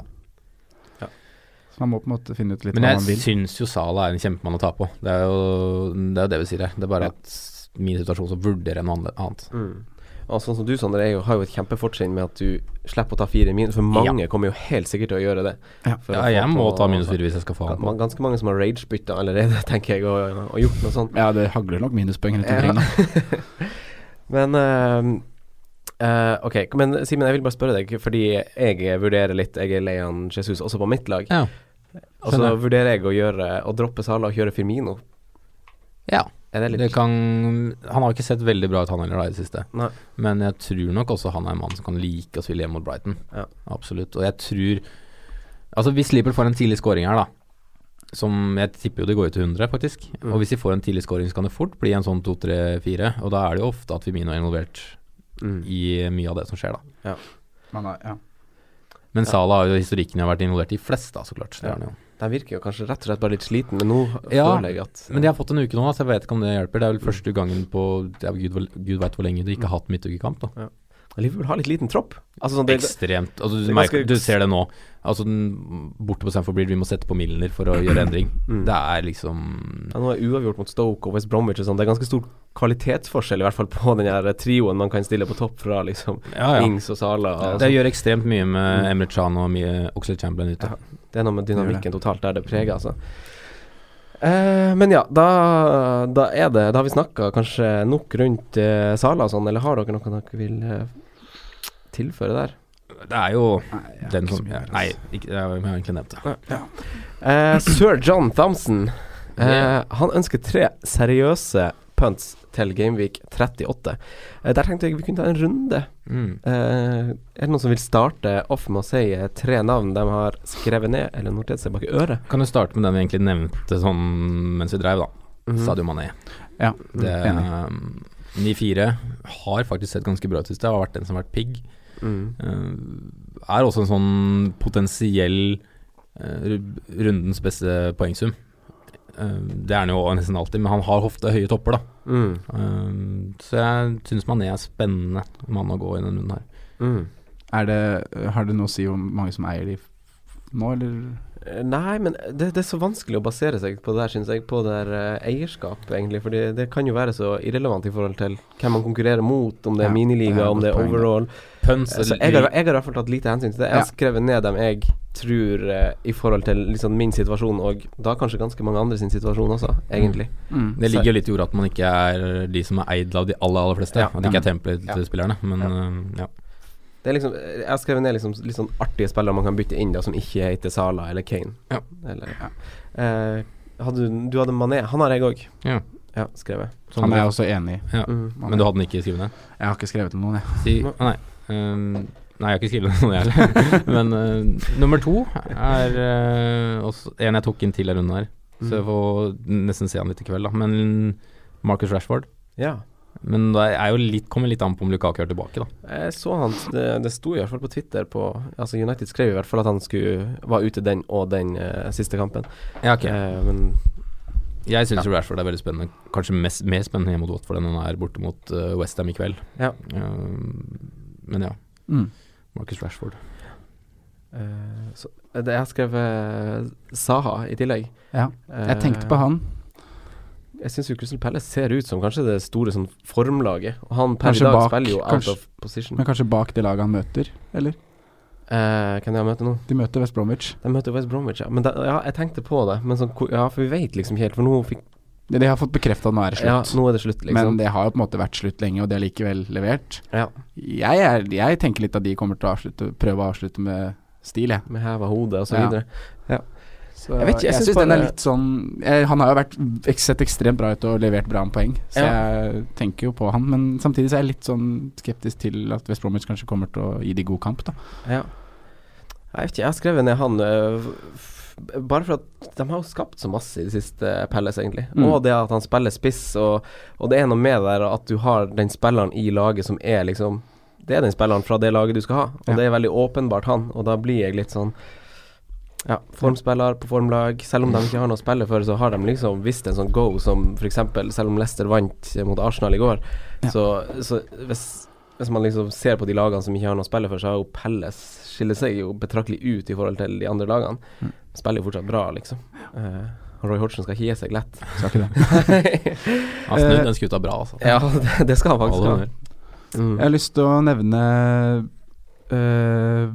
Speaker 2: Så man må på en måte finne ut litt
Speaker 4: Men
Speaker 2: hva man
Speaker 4: jeg
Speaker 2: vil.
Speaker 4: syns jo Salah er en kjempemann å ta på. Det er jo det, er jo det vi sier her. Det er bare at min situasjon så vurderer jeg noe annet- annet.
Speaker 3: Og sånn som du, Sander, er jo, har jo et kjempefortrinn med at du slipper å ta fire minus, for mange kommer jo helt sikkert til å gjøre det. For
Speaker 4: Ja,
Speaker 3: å få
Speaker 4: jeg må
Speaker 3: på-
Speaker 4: ta minus fire hvis jeg skal få han på.
Speaker 3: Man- Ganske mange som har ragebytta allerede, tenker jeg, og, og gjort noe sånt.
Speaker 2: Ja, det hagler nok minuspoeng rundt omkring. da.
Speaker 3: Men eh, eh, Ok, men Simen, jeg vil bare spørre deg, fordi jeg vurderer litt Jeg er lei av Jesus også på mitt lag.
Speaker 4: Ja.
Speaker 3: Og så
Speaker 4: skjønner.
Speaker 3: vurderer jeg å gjøre Å droppe Sala og kjøre Firmino.
Speaker 4: ja.
Speaker 3: Er det litt
Speaker 4: Det kan Han har jo ikke sett veldig bra ut, han heller, da, i det siste.
Speaker 3: Nei.
Speaker 4: Men jeg tror nok også han er en mann som kan like å spille hjemme mot Brighton.
Speaker 3: Ja.
Speaker 4: Absolutt. Og jeg tror Altså, hvis Liverpool får en tidlig scoring her, da, som jeg tipper jo det går ut til 100, faktisk, og hvis de får en tidlig scoring, så kan det fort bli en sånn 2-3-4, og da er det jo ofte at Firmino er involvert
Speaker 3: Mm.
Speaker 4: i mye av det som skjer, da.
Speaker 2: Man har, ja.
Speaker 4: Men Salah har jo historikken har vært involvert i flest, da, så klart. Det er han jo.
Speaker 3: De virker jo kanskje rett og slett bare litt sliten, men nå
Speaker 4: Ja,
Speaker 3: føler jeg at
Speaker 4: Men de har fått en uke nå, da, så jeg vet ikke om det hjelper. Det er vel første gangen på ja, gud, hvor- gud veit hvor lenge de ikke har hatt midtukekamp, da.
Speaker 3: Liverpool har litt liten tropp. Altså sånn, det,
Speaker 4: Ekstremt. Altså,
Speaker 3: det
Speaker 4: du,
Speaker 3: er ganske-
Speaker 4: merker, du ser det nå. Altså, den, borte på Stamford Bridge, vi må sette på Milner for å gjøre endring.
Speaker 3: Mm.
Speaker 4: Det er liksom
Speaker 3: ja, nå er uavgjort mot Stoke og West Bromwich og sånn. Det er ganske stor kvalitetsforskjell, i hvert fall på den her trioen man kan stille på topp fra, liksom.
Speaker 4: Ja, ja. altså.
Speaker 3: Ings og Sala. Og
Speaker 4: Det
Speaker 3: sånn.
Speaker 4: gjør ekstremt mye med
Speaker 3: Mm.
Speaker 4: Emre Chan og mye Oxlade Chamberlain ute.
Speaker 3: Det er noe med dynamikken totalt der det preger, altså. Eh, men ja, da, da er det Da har vi snakka kanskje nok rundt eh, Sala og sånn, eller har dere noe dere vil eh, tilføre der?
Speaker 4: Det er jo den som Nei,
Speaker 3: altså.
Speaker 4: ikke, jeg har egentlig nevnt det.
Speaker 3: Eh, Sir John Thompson eh,
Speaker 4: Yeah.
Speaker 3: Han ønsker tre seriøse punts til Gameweek 38. Eh, der tenkte jeg vi kunne ta en runde.
Speaker 4: Mm.
Speaker 3: Eh, er det noen som vil starte off med å si eh, tre navn de har skrevet ned eller notert seg bak i øret?
Speaker 4: Kan du starte med den vi egentlig nevnte sånn mens vi dreiv, da.
Speaker 3: Mhm.
Speaker 4: Sadio Mané.
Speaker 2: ja.
Speaker 4: Det,
Speaker 2: Enig.
Speaker 4: um, 9-4 har faktisk sett ganske bra ut i sted, har vært den som har vært pigg.
Speaker 3: Mm.
Speaker 4: Uh, er også en sånn potensiell uh, ru- rundens beste poengsum. Uh, det er han jo nesten alltid, men han har ofte høye topper, da.
Speaker 3: Mm.
Speaker 4: Uh, så jeg syns Mané er spennende mann å gå i denne runden her.
Speaker 3: Mm.
Speaker 2: Er det, har det noe å si om mange som eier de f- nå, eller?
Speaker 3: Eh, Nei, men det, det er så vanskelig å basere seg på det der, syns jeg, på det der eh, eierskap, egentlig. Fordi det kan jo være så irrelevant i forhold til hvem man konkurrerer mot, om det er
Speaker 2: Ja, det er
Speaker 3: miniliga,
Speaker 2: et
Speaker 3: om det er
Speaker 2: godt poeng, det.
Speaker 3: overall.
Speaker 4: Pønsk,
Speaker 3: Eh, Så Altså, jeg har, jeg har i hvert fall tatt lite hensyn til det. Jeg har
Speaker 2: Ja.
Speaker 3: skrevet ned dem jeg tror eh, i forhold til liksom min situasjon, og da kanskje ganske mange andre sin situasjon også, egentlig.
Speaker 4: det ligger jo litt i ordet at man ikke er de som er eid av de aller, aller fleste.
Speaker 3: Ja.
Speaker 4: at det ikke er tempelet til spillerne, men uh, ja.
Speaker 3: Det er liksom, jeg har skrevet ned liksom, litt sånn artige spillere man kan bytte inn, da, som ikke heter Sala eller Kane.
Speaker 4: Ja.
Speaker 3: Eller, Eh, hadde, du- du hadde Mané. Han har jeg òg.
Speaker 4: ja.
Speaker 3: Ja, skrevet.
Speaker 4: Sånn
Speaker 2: Han er
Speaker 4: det-
Speaker 2: jeg også enig i.
Speaker 4: ja. Men du hadde den ikke skrevet ned?
Speaker 2: Jeg har ikke skrevet om noen, jeg.
Speaker 4: Si,
Speaker 3: Nå-
Speaker 4: ah, nei. Ehm, nei, jeg har ikke skrevet noe, jeg heller. Men eh, nummer to er eh, også en jeg tok inn til en runde her. Så
Speaker 3: Mm.
Speaker 4: jeg får nesten se han litt i kveld, da. Men Marcus Rashford.
Speaker 3: Ja.
Speaker 4: Men det er jo litt, kommer litt an på om Lukaku er tilbake, da.
Speaker 3: Jeg så han Det, det sto i hvert fall på Twitter på Altså United skrev i hvert fall at han skulle var ute den og den eh, siste kampen.
Speaker 4: Ja, ok.
Speaker 3: Eh, men
Speaker 4: Jeg syns Rashford er veldig spennende. Kanskje mest, mer spennende hjemme mot Watford enn han er borte mot eh, West Westham i kveld.
Speaker 3: Ja.
Speaker 4: Ehm, men ja.
Speaker 2: Mm.
Speaker 4: Marcus Rashford.
Speaker 3: eh, så, det, jeg har skrevet eh, Saha i tillegg. Eh,
Speaker 2: Ja. Jeg tenkte på han.
Speaker 3: Jeg syns jo Crystal Palace ser ut som kanskje det store sånn formlaget. Og han per i
Speaker 2: Kanskje
Speaker 3: dag
Speaker 2: bak,
Speaker 3: spiller jo out
Speaker 2: kanskje-
Speaker 3: of position.
Speaker 2: Men kanskje bak det laget han møter, eller?
Speaker 3: Eh, hvem er det han møter nå?
Speaker 2: De møter West Bromwich.
Speaker 3: De møter West Bromwich, ja. Men da, ja, jeg tenkte på det. Men sånn, hvor- ja, for vi vet liksom ikke helt. For nå fikk
Speaker 2: Det, det har fått bekrefta at nå er det
Speaker 3: Ja,
Speaker 2: slutt.
Speaker 3: nå er det slutt, liksom.
Speaker 2: Men det har jo på en måte vært slutt lenge, og det er likevel levert.
Speaker 3: ja,
Speaker 2: Jeg, er, jeg tenker litt at de kommer til å avslutte, prøve å avslutte med stil, jeg.
Speaker 3: med heva hode og så
Speaker 2: Ja.
Speaker 3: videre.
Speaker 2: Så
Speaker 3: Jeg vet ikke, jeg
Speaker 2: jeg
Speaker 3: synes
Speaker 2: syns den er
Speaker 3: bare-
Speaker 2: litt sånn jeg, Han har jo vært ek- sett ekstremt bra ut og levert bra med poeng, så jeg tenker jo på han. Men samtidig så er jeg litt sånn skeptisk til at West Bromwich kanskje kommer til å gi de god kamp, da.
Speaker 3: Ja. Jeg vet ikke, jeg har skrevet ned han øh, f- f- bare for at de har jo skapt så masse i det siste Pelles, egentlig.
Speaker 2: Mm.
Speaker 3: Og det at han spiller spiss, og, og det er noe med det der at du har den spilleren i laget som er liksom Det er den spilleren fra det laget du skal ha, og
Speaker 2: Ja.
Speaker 3: det er veldig åpenbart han, og da blir jeg litt sånn ja, formspiller på formlag. Selv om de ikke har noe å spille for, så har de liksom visst en sånn go som f.eks. Selv om Leicester vant mot Arsenal i går, så, så hvis, hvis man liksom ser på de lagene som ikke har noe å spille for, så har jo Pelles skiller seg jo betraktelig ut i forhold til de andre lagene. Spiller jo fortsatt bra, liksom. Eh, og Roy Hodgson skal ikke gi seg lett.
Speaker 2: Skal ikke det.
Speaker 4: Han snudde den skuta bra, altså.
Speaker 3: Eh, Ja, det, det skal han
Speaker 4: Alle
Speaker 3: faktisk ha.
Speaker 4: honnør.
Speaker 3: Mm.
Speaker 2: Jeg har lyst til å nevne eh,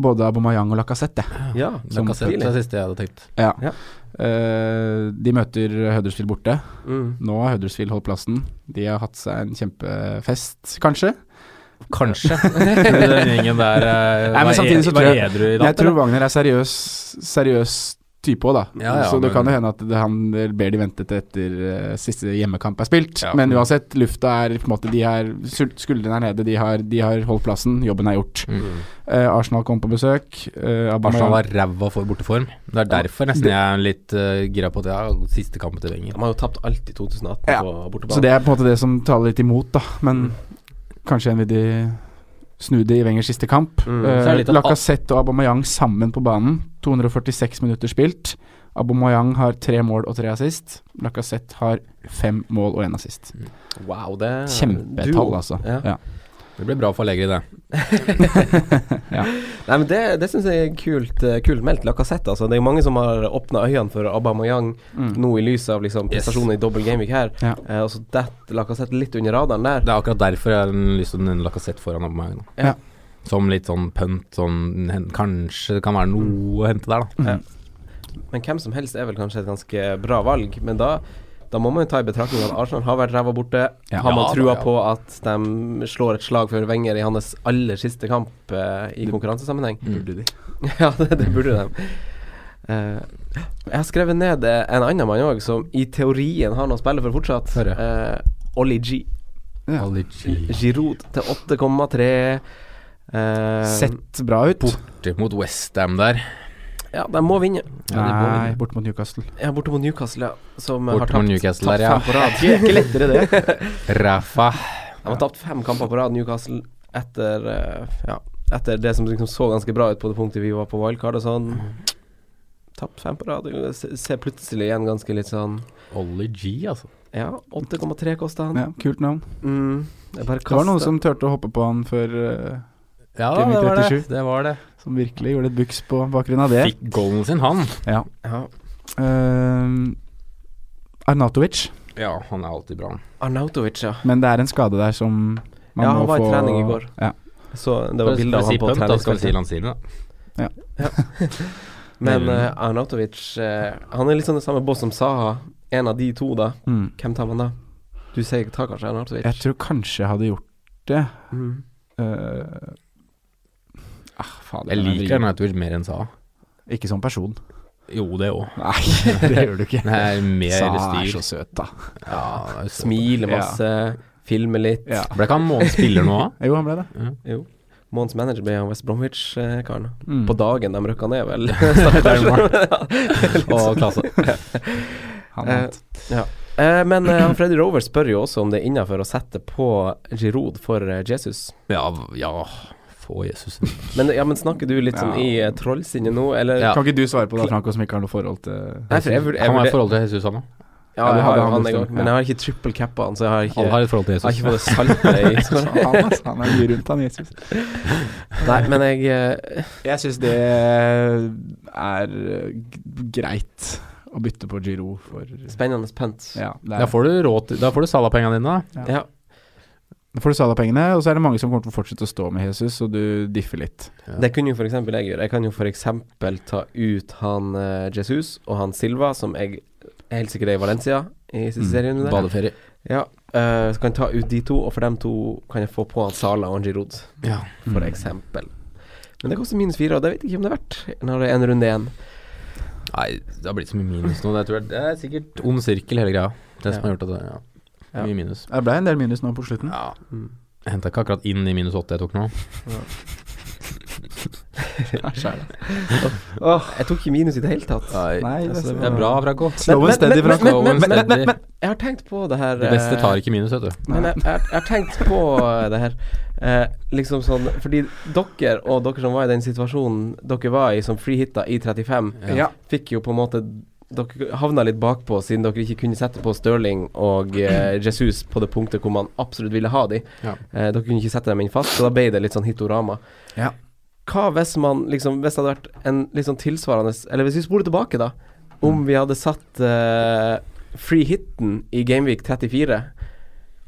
Speaker 2: både Abomayang og Lacassette, jeg.
Speaker 3: Ja,
Speaker 2: Som
Speaker 4: Lacazette
Speaker 3: tidlig.
Speaker 4: er det siste jeg hadde tenkt.
Speaker 2: Ja.
Speaker 3: Ja.
Speaker 2: Eh, de møter Huddersfield borte.
Speaker 3: Mm.
Speaker 2: Nå har Huddersfield holdt plassen. De har hatt seg en kjempefest, kanskje.
Speaker 4: Kanskje. den gjengen der eh,
Speaker 2: Nei, men
Speaker 4: var
Speaker 2: samtidig
Speaker 4: ed-
Speaker 2: så
Speaker 4: var
Speaker 2: tror jeg-
Speaker 4: edru i
Speaker 2: Men jeg
Speaker 4: natt.
Speaker 2: tror
Speaker 4: eller?
Speaker 2: Wagner er seriøs, seriøs type òg, da.
Speaker 4: Ja, ja,
Speaker 2: så det
Speaker 4: men-
Speaker 2: kan jo hende at det, han ber de vente til etter eh, siste hjemmekamp er spilt.
Speaker 4: Ja.
Speaker 2: Men uansett, lufta er på en måte De er sul- Skuldrene er nede, de har, de har holdt plassen, jobben er gjort.
Speaker 4: Mm.
Speaker 2: Eh, Arsenal kom på besøk. eh,
Speaker 4: Arsenal
Speaker 2: Aubameyang-
Speaker 4: var ræva for borteform. Det er derfor nesten jeg er litt uh, gira på at jeg har siste kampen til Wenger.
Speaker 3: De har jo tapt alt i 2018
Speaker 2: Ja.
Speaker 3: på bortebane.
Speaker 2: Så det er på en måte det som taler litt imot, da. Men
Speaker 3: Mm.
Speaker 2: kanskje en vil de snu det i Wengers siste kamp.
Speaker 3: Mm.
Speaker 2: Eh,
Speaker 4: Så er det litt at-
Speaker 2: Lacazette og Aubameyang sammen på banen. 246 minutter spilt. Aubameyang har tre mål og tre assist. Lacazette har fem mål og én assist.
Speaker 3: Wow, det er
Speaker 2: Kjempetall, altså.
Speaker 3: Mm. Ja.
Speaker 2: Ja.
Speaker 4: Det blir bra for Allegri, det.
Speaker 3: Nei, men Det, det syns jeg er kult, eh, kult meldt. Lacassette, altså. Det er jo mange som har åpna øynene for Aubameyang
Speaker 2: Mm.
Speaker 3: nå i lys av liksom,
Speaker 4: Yes.
Speaker 3: prestasjonen i double gameweek her.
Speaker 2: Ja.
Speaker 3: Eh, og så detter Lacassette litt under radaren der.
Speaker 4: Det er akkurat derfor jeg har lyst til å nevne Lacassette foran Aubameyang. da.
Speaker 2: Ja.
Speaker 4: Som litt sånn pønt, sånn hen, kanskje det kan være noe å hente der, da.
Speaker 3: Men hvem som helst er vel kanskje et ganske bra valg. Men da, da må man jo ta i betraktning at Arsenal har vært ræva borte.
Speaker 2: Ja.
Speaker 3: Har man
Speaker 4: Ja, da,
Speaker 3: trua
Speaker 4: ja.
Speaker 3: på at de slår et slag for Wenger i hans aller siste kamp eh, i konkurransesammenheng?
Speaker 2: Burde de.
Speaker 3: Ja, det, det burde de. Eh, jeg har skrevet ned eh, en annen mann òg, som i teorien har noe å spille for fortsatt.
Speaker 4: Hør,
Speaker 3: Uh, Oli G.
Speaker 2: Ja.
Speaker 4: Ali G.
Speaker 3: Giroud til 8,3. Eh,
Speaker 2: Sett bra ut.
Speaker 4: Borte mot Westham der.
Speaker 3: Ja, de må vinne.
Speaker 2: Nei, bort mot Newcastle.
Speaker 3: Ja, borte mot Newcastle, ja, som eh,
Speaker 4: Borte
Speaker 3: har tapt,
Speaker 4: mot Newcastle
Speaker 3: tapt
Speaker 4: der, ja.
Speaker 3: fem på rad. Det er ikke lettere, det.
Speaker 4: Ræfa.
Speaker 3: De har tapt fem kamper på rad, Newcastle, etter eh, Ja, etter det som liksom så ganske bra ut på det punktet vi var på wildcard og sånn. Tapt fem på rad. og se- Ser plutselig igjen ganske litt sånn
Speaker 4: Ollie G, altså.
Speaker 3: Ja, 8,3 kosta han.
Speaker 2: Ja, kult navn.
Speaker 3: Mm, jeg bare
Speaker 2: Det var noen
Speaker 3: kastet-
Speaker 2: som turte å hoppe på han før eh,
Speaker 4: Ja,
Speaker 2: Game
Speaker 4: det
Speaker 2: week
Speaker 4: var det.
Speaker 2: 37.
Speaker 4: det var det.
Speaker 2: Som virkelig gjorde et buks på bakgrunn av det.
Speaker 4: Fikk goalen sin, han.
Speaker 2: Ja.
Speaker 3: ja.
Speaker 2: Eh, Arnatovic.
Speaker 4: Ja, han er alltid bra. han.
Speaker 3: Arnautovic, ja.
Speaker 2: Men det er en skade der som man
Speaker 3: Ja,
Speaker 2: må
Speaker 3: han var i
Speaker 2: få
Speaker 3: trening i går.
Speaker 2: Ja.
Speaker 3: Så det var
Speaker 4: For-
Speaker 3: bilde av
Speaker 4: for å
Speaker 3: han
Speaker 4: si
Speaker 3: på
Speaker 4: pønt, da, skal vi si
Speaker 3: treningsfeltet.
Speaker 4: Lanzini, da.
Speaker 3: Men eh, Arnautovic eh, Han er litt sånn det samme boss som Saha. En av de to, da.
Speaker 2: Mm.
Speaker 3: Hvem tar man da? Du sier ta kanskje Arnautovic?
Speaker 2: Jeg tror kanskje jeg hadde gjort det.
Speaker 3: Mm.
Speaker 2: Eh, ah, faen,
Speaker 4: Jeg
Speaker 2: den er
Speaker 4: liker
Speaker 2: vrien.
Speaker 4: Arnautovic mer enn Sa.
Speaker 2: Ikke som person.
Speaker 4: Jo, det òg.
Speaker 2: Nei, det gjør du ikke.
Speaker 4: Det er mer
Speaker 2: Sa er
Speaker 4: styr.
Speaker 2: så søt, da.
Speaker 4: Ja, det er så-
Speaker 3: Smiler masse, filmer litt.
Speaker 2: Ja.
Speaker 4: Ble ikke han månedens spiller nå, da?
Speaker 2: Jo, han ble det.
Speaker 3: Jo. Månedens manager ble han West Bromwich-karen.
Speaker 2: Mm.
Speaker 3: På dagen de røkka ned, vel. sånn.
Speaker 4: Og klasse.
Speaker 2: Han
Speaker 3: Eh,
Speaker 2: vant.
Speaker 3: ja. Eh, men eh, han Freddy Rover spør jo også om det er innafor å sette på Giroud for eh, Jesus.
Speaker 4: Ja, ja. Få Jesus.
Speaker 3: Men, ja, men snakker du litt sånn i eh, trollsinne nå, eller?
Speaker 4: Ja.
Speaker 2: Kan ikke du svare på det, Franco, som ikke har noe forhold til
Speaker 3: Nei, for jeg vurd- jeg
Speaker 4: Han har
Speaker 3: vurder-
Speaker 4: et forhold til Jesus, han òg.
Speaker 3: Ja,
Speaker 2: Ja, du
Speaker 3: jeg
Speaker 2: hadde
Speaker 3: har jo
Speaker 2: han
Speaker 3: han,
Speaker 2: lyst
Speaker 3: jeg
Speaker 2: til,
Speaker 3: òg, men
Speaker 2: ja.
Speaker 3: jeg har ikke triple cappa han, så jeg har ikke,
Speaker 4: Alle har et forhold til
Speaker 3: jeg har
Speaker 4: Jesus.
Speaker 3: ikke fått det saltet i
Speaker 2: Han, altså, han er mye rundt han, Jesus.
Speaker 3: Nei, men jeg eh,
Speaker 2: Jeg syns det er eh, g- greit å bytte på Giro for
Speaker 3: Spennende pønt.
Speaker 2: ja, det
Speaker 4: Da
Speaker 2: er,
Speaker 4: får du råd til Da får du Salah-pengene dine, da.
Speaker 3: Ja.
Speaker 2: Da får du Salah-pengene, og så er det mange som kommer til å fortsette å stå med Jesus, og du differ litt.
Speaker 3: Det kunne jo f.eks. jeg gjøre. Jeg kan jo f.eks. ta ut han eh, Jesus og han Silva, som jeg er helt sikkert er i Valencia i
Speaker 4: Mm.
Speaker 3: siste serien. Der.
Speaker 4: Badeferie.
Speaker 3: Ja, eh, så kan jeg ta ut de to, og for dem to kan jeg få på han Sala og Giroud,
Speaker 4: Ja.
Speaker 3: for eksempel. Men det koster minus fire, og det vet jeg ikke om det er verdt når det er en runde igjen.
Speaker 4: Nei, det har blitt så mye minus nå. Det, tror jeg, det er sikkert ond sirkel, hele greia. Det som har gjort at det ja. Mm.
Speaker 3: Ja.
Speaker 4: Mye minus.
Speaker 2: Det ble en del minus nå på slutten.
Speaker 4: Ja. Jeg henta ikke akkurat inn i minus åtte jeg tok nå.
Speaker 3: Jeg tok ikke minus i det hele tatt.
Speaker 2: Nei, det
Speaker 3: altså,
Speaker 2: var-
Speaker 4: Det er bra, Franco.
Speaker 2: Slow and steady, Frank.
Speaker 3: men, men, men,
Speaker 4: Steady.
Speaker 3: men, men, jeg har tenkt på det her
Speaker 4: De beste
Speaker 3: eh,
Speaker 4: tar ikke minus, vet du.
Speaker 3: Men jeg, jeg, jeg har tenkt på eh, det her. Eh, liksom sånn Fordi dere og dere som var i den situasjonen dere var i som freehitta i 35,
Speaker 2: Ja.
Speaker 3: fikk jo på en måte Dere havna litt bakpå siden dere ikke kunne sette på Stirling og eh, Jesus på det punktet hvor man absolutt ville ha de.
Speaker 4: Ja.
Speaker 3: Eh, dere kunne ikke sette dem inn fast, så da ble det litt sånn hitorama.
Speaker 2: Ja.
Speaker 3: Hva hvis man liksom Hvis det hadde vært en liksom tilsvarende Eller hvis vi spoler tilbake, da. Om vi hadde satt eh, free hitten i Gameweek 34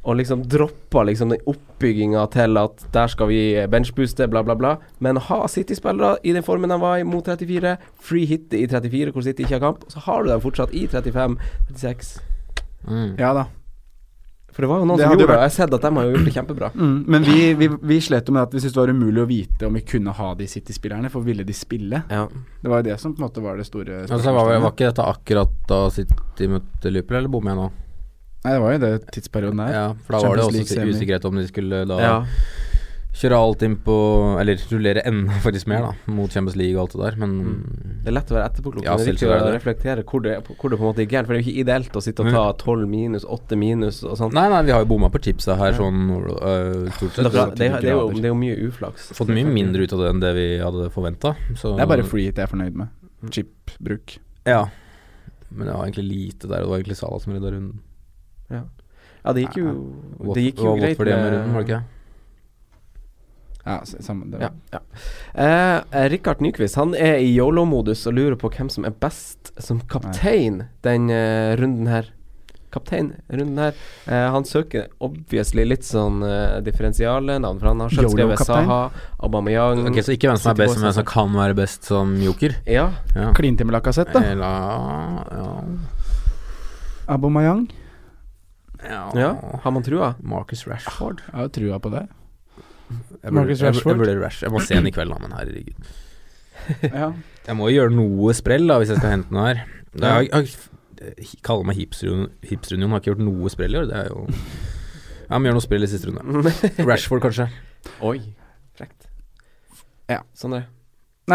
Speaker 3: og liksom droppa liksom den oppbygginga til at der skal vi benchbooste, bla, bla, bla. Men ha City-spillere i den formen de var i mot 34, free hit i 34 hvor City ikke har kamp, og så har du dem fortsatt i 35, 36.
Speaker 2: Ja da.
Speaker 3: For det var jo noen
Speaker 2: Det
Speaker 3: som gjorde
Speaker 2: hadde jo
Speaker 3: det, og jeg har sett at de har jo gjort det kjempebra.
Speaker 2: Mm, men vi, vi, vi slet jo med at vi syntes det var umulig å vite om vi kunne ha de City-spillerne, for ville de spille?
Speaker 3: Ja.
Speaker 2: Det var jo det som på en måte var det store
Speaker 4: Altså, var, var ikke dette akkurat da City møtte Liverpool, eller bommer jeg nå?
Speaker 2: Nei, det var jo det tidsperioden der.
Speaker 4: Ja, for da var det
Speaker 2: Champions
Speaker 4: også
Speaker 2: League semi.
Speaker 4: usikkerhet om de skulle da
Speaker 3: Ja.
Speaker 4: kjøre alt inn på Eller rullere enda faktisk mer, da, mot Champions League og alt det der, men
Speaker 3: Det er lett å være etterpåklok,
Speaker 4: Ja,
Speaker 3: men det er viktig å
Speaker 4: selvfølgelig er det
Speaker 3: reflektere hvor det, hvor det på en måte er gærent. For det er jo ikke ideelt å sitte og ta 12 minus, 8 minus og sånn.
Speaker 4: Nei, nei, vi har jo bomma på chipsa her, sånn øh, stort
Speaker 3: Det, er
Speaker 4: sett.
Speaker 3: bra.
Speaker 4: så-
Speaker 3: det, er- det, er jo, det er jo mye uflaks.
Speaker 4: Fått mye mindre ut av det enn det vi hadde forventa.
Speaker 2: Det er bare free hit jeg er fornøyd med.
Speaker 4: Mm.
Speaker 2: Chip-bruk.
Speaker 4: Ja. Men det var egentlig lite der, og det var egentlig Salah som redda runden.
Speaker 3: Ja, det gikk jo,
Speaker 4: Wat-
Speaker 3: det gikk jo
Speaker 4: var
Speaker 3: greit.
Speaker 4: Watford hjemme i
Speaker 3: med-
Speaker 4: runden, var det ikke?
Speaker 2: Ja, s- samme det.
Speaker 3: Ja.
Speaker 2: Var.
Speaker 3: ja. Eh, eh, Rikard Nyquist han er i yolo-modus og lurer på hvem som er best som kaptein den eh, runden her. Kaptein runden her. Eh, han søker obviously litt sånn eh, differensiale navn, for han har selv skrevet
Speaker 2: Yolo-kaptein?
Speaker 3: Saha, Aubameyang
Speaker 4: Ok, Så ikke hvem som er best, men hvem som kan være best som joker?
Speaker 3: Ja.
Speaker 4: Ja.
Speaker 2: Klin til med Lacassette, da.
Speaker 4: Eller ja.
Speaker 2: Abomayang.
Speaker 4: ja.
Speaker 3: ja. Har man trua?
Speaker 4: Marcus Rashford.
Speaker 2: Jeg har jo trua på det.
Speaker 4: Jeg
Speaker 2: Marcus
Speaker 4: jeg
Speaker 2: Rashford?
Speaker 4: Jeg, burde Rash. jeg må se den i kveld, da, men herregud.
Speaker 2: Ja.
Speaker 4: Jeg må jo gjøre noe sprell da hvis jeg skal hente den her. Det er, jeg, jeg, jeg kaller meg hipsterunion, hipsterunion, har ikke gjort noe sprell i år. Det er jo Ja, men gjør noe sprell i siste runde. Rashford, kanskje.
Speaker 3: Oi. Frekt.
Speaker 2: Ja.
Speaker 3: Sånn er det.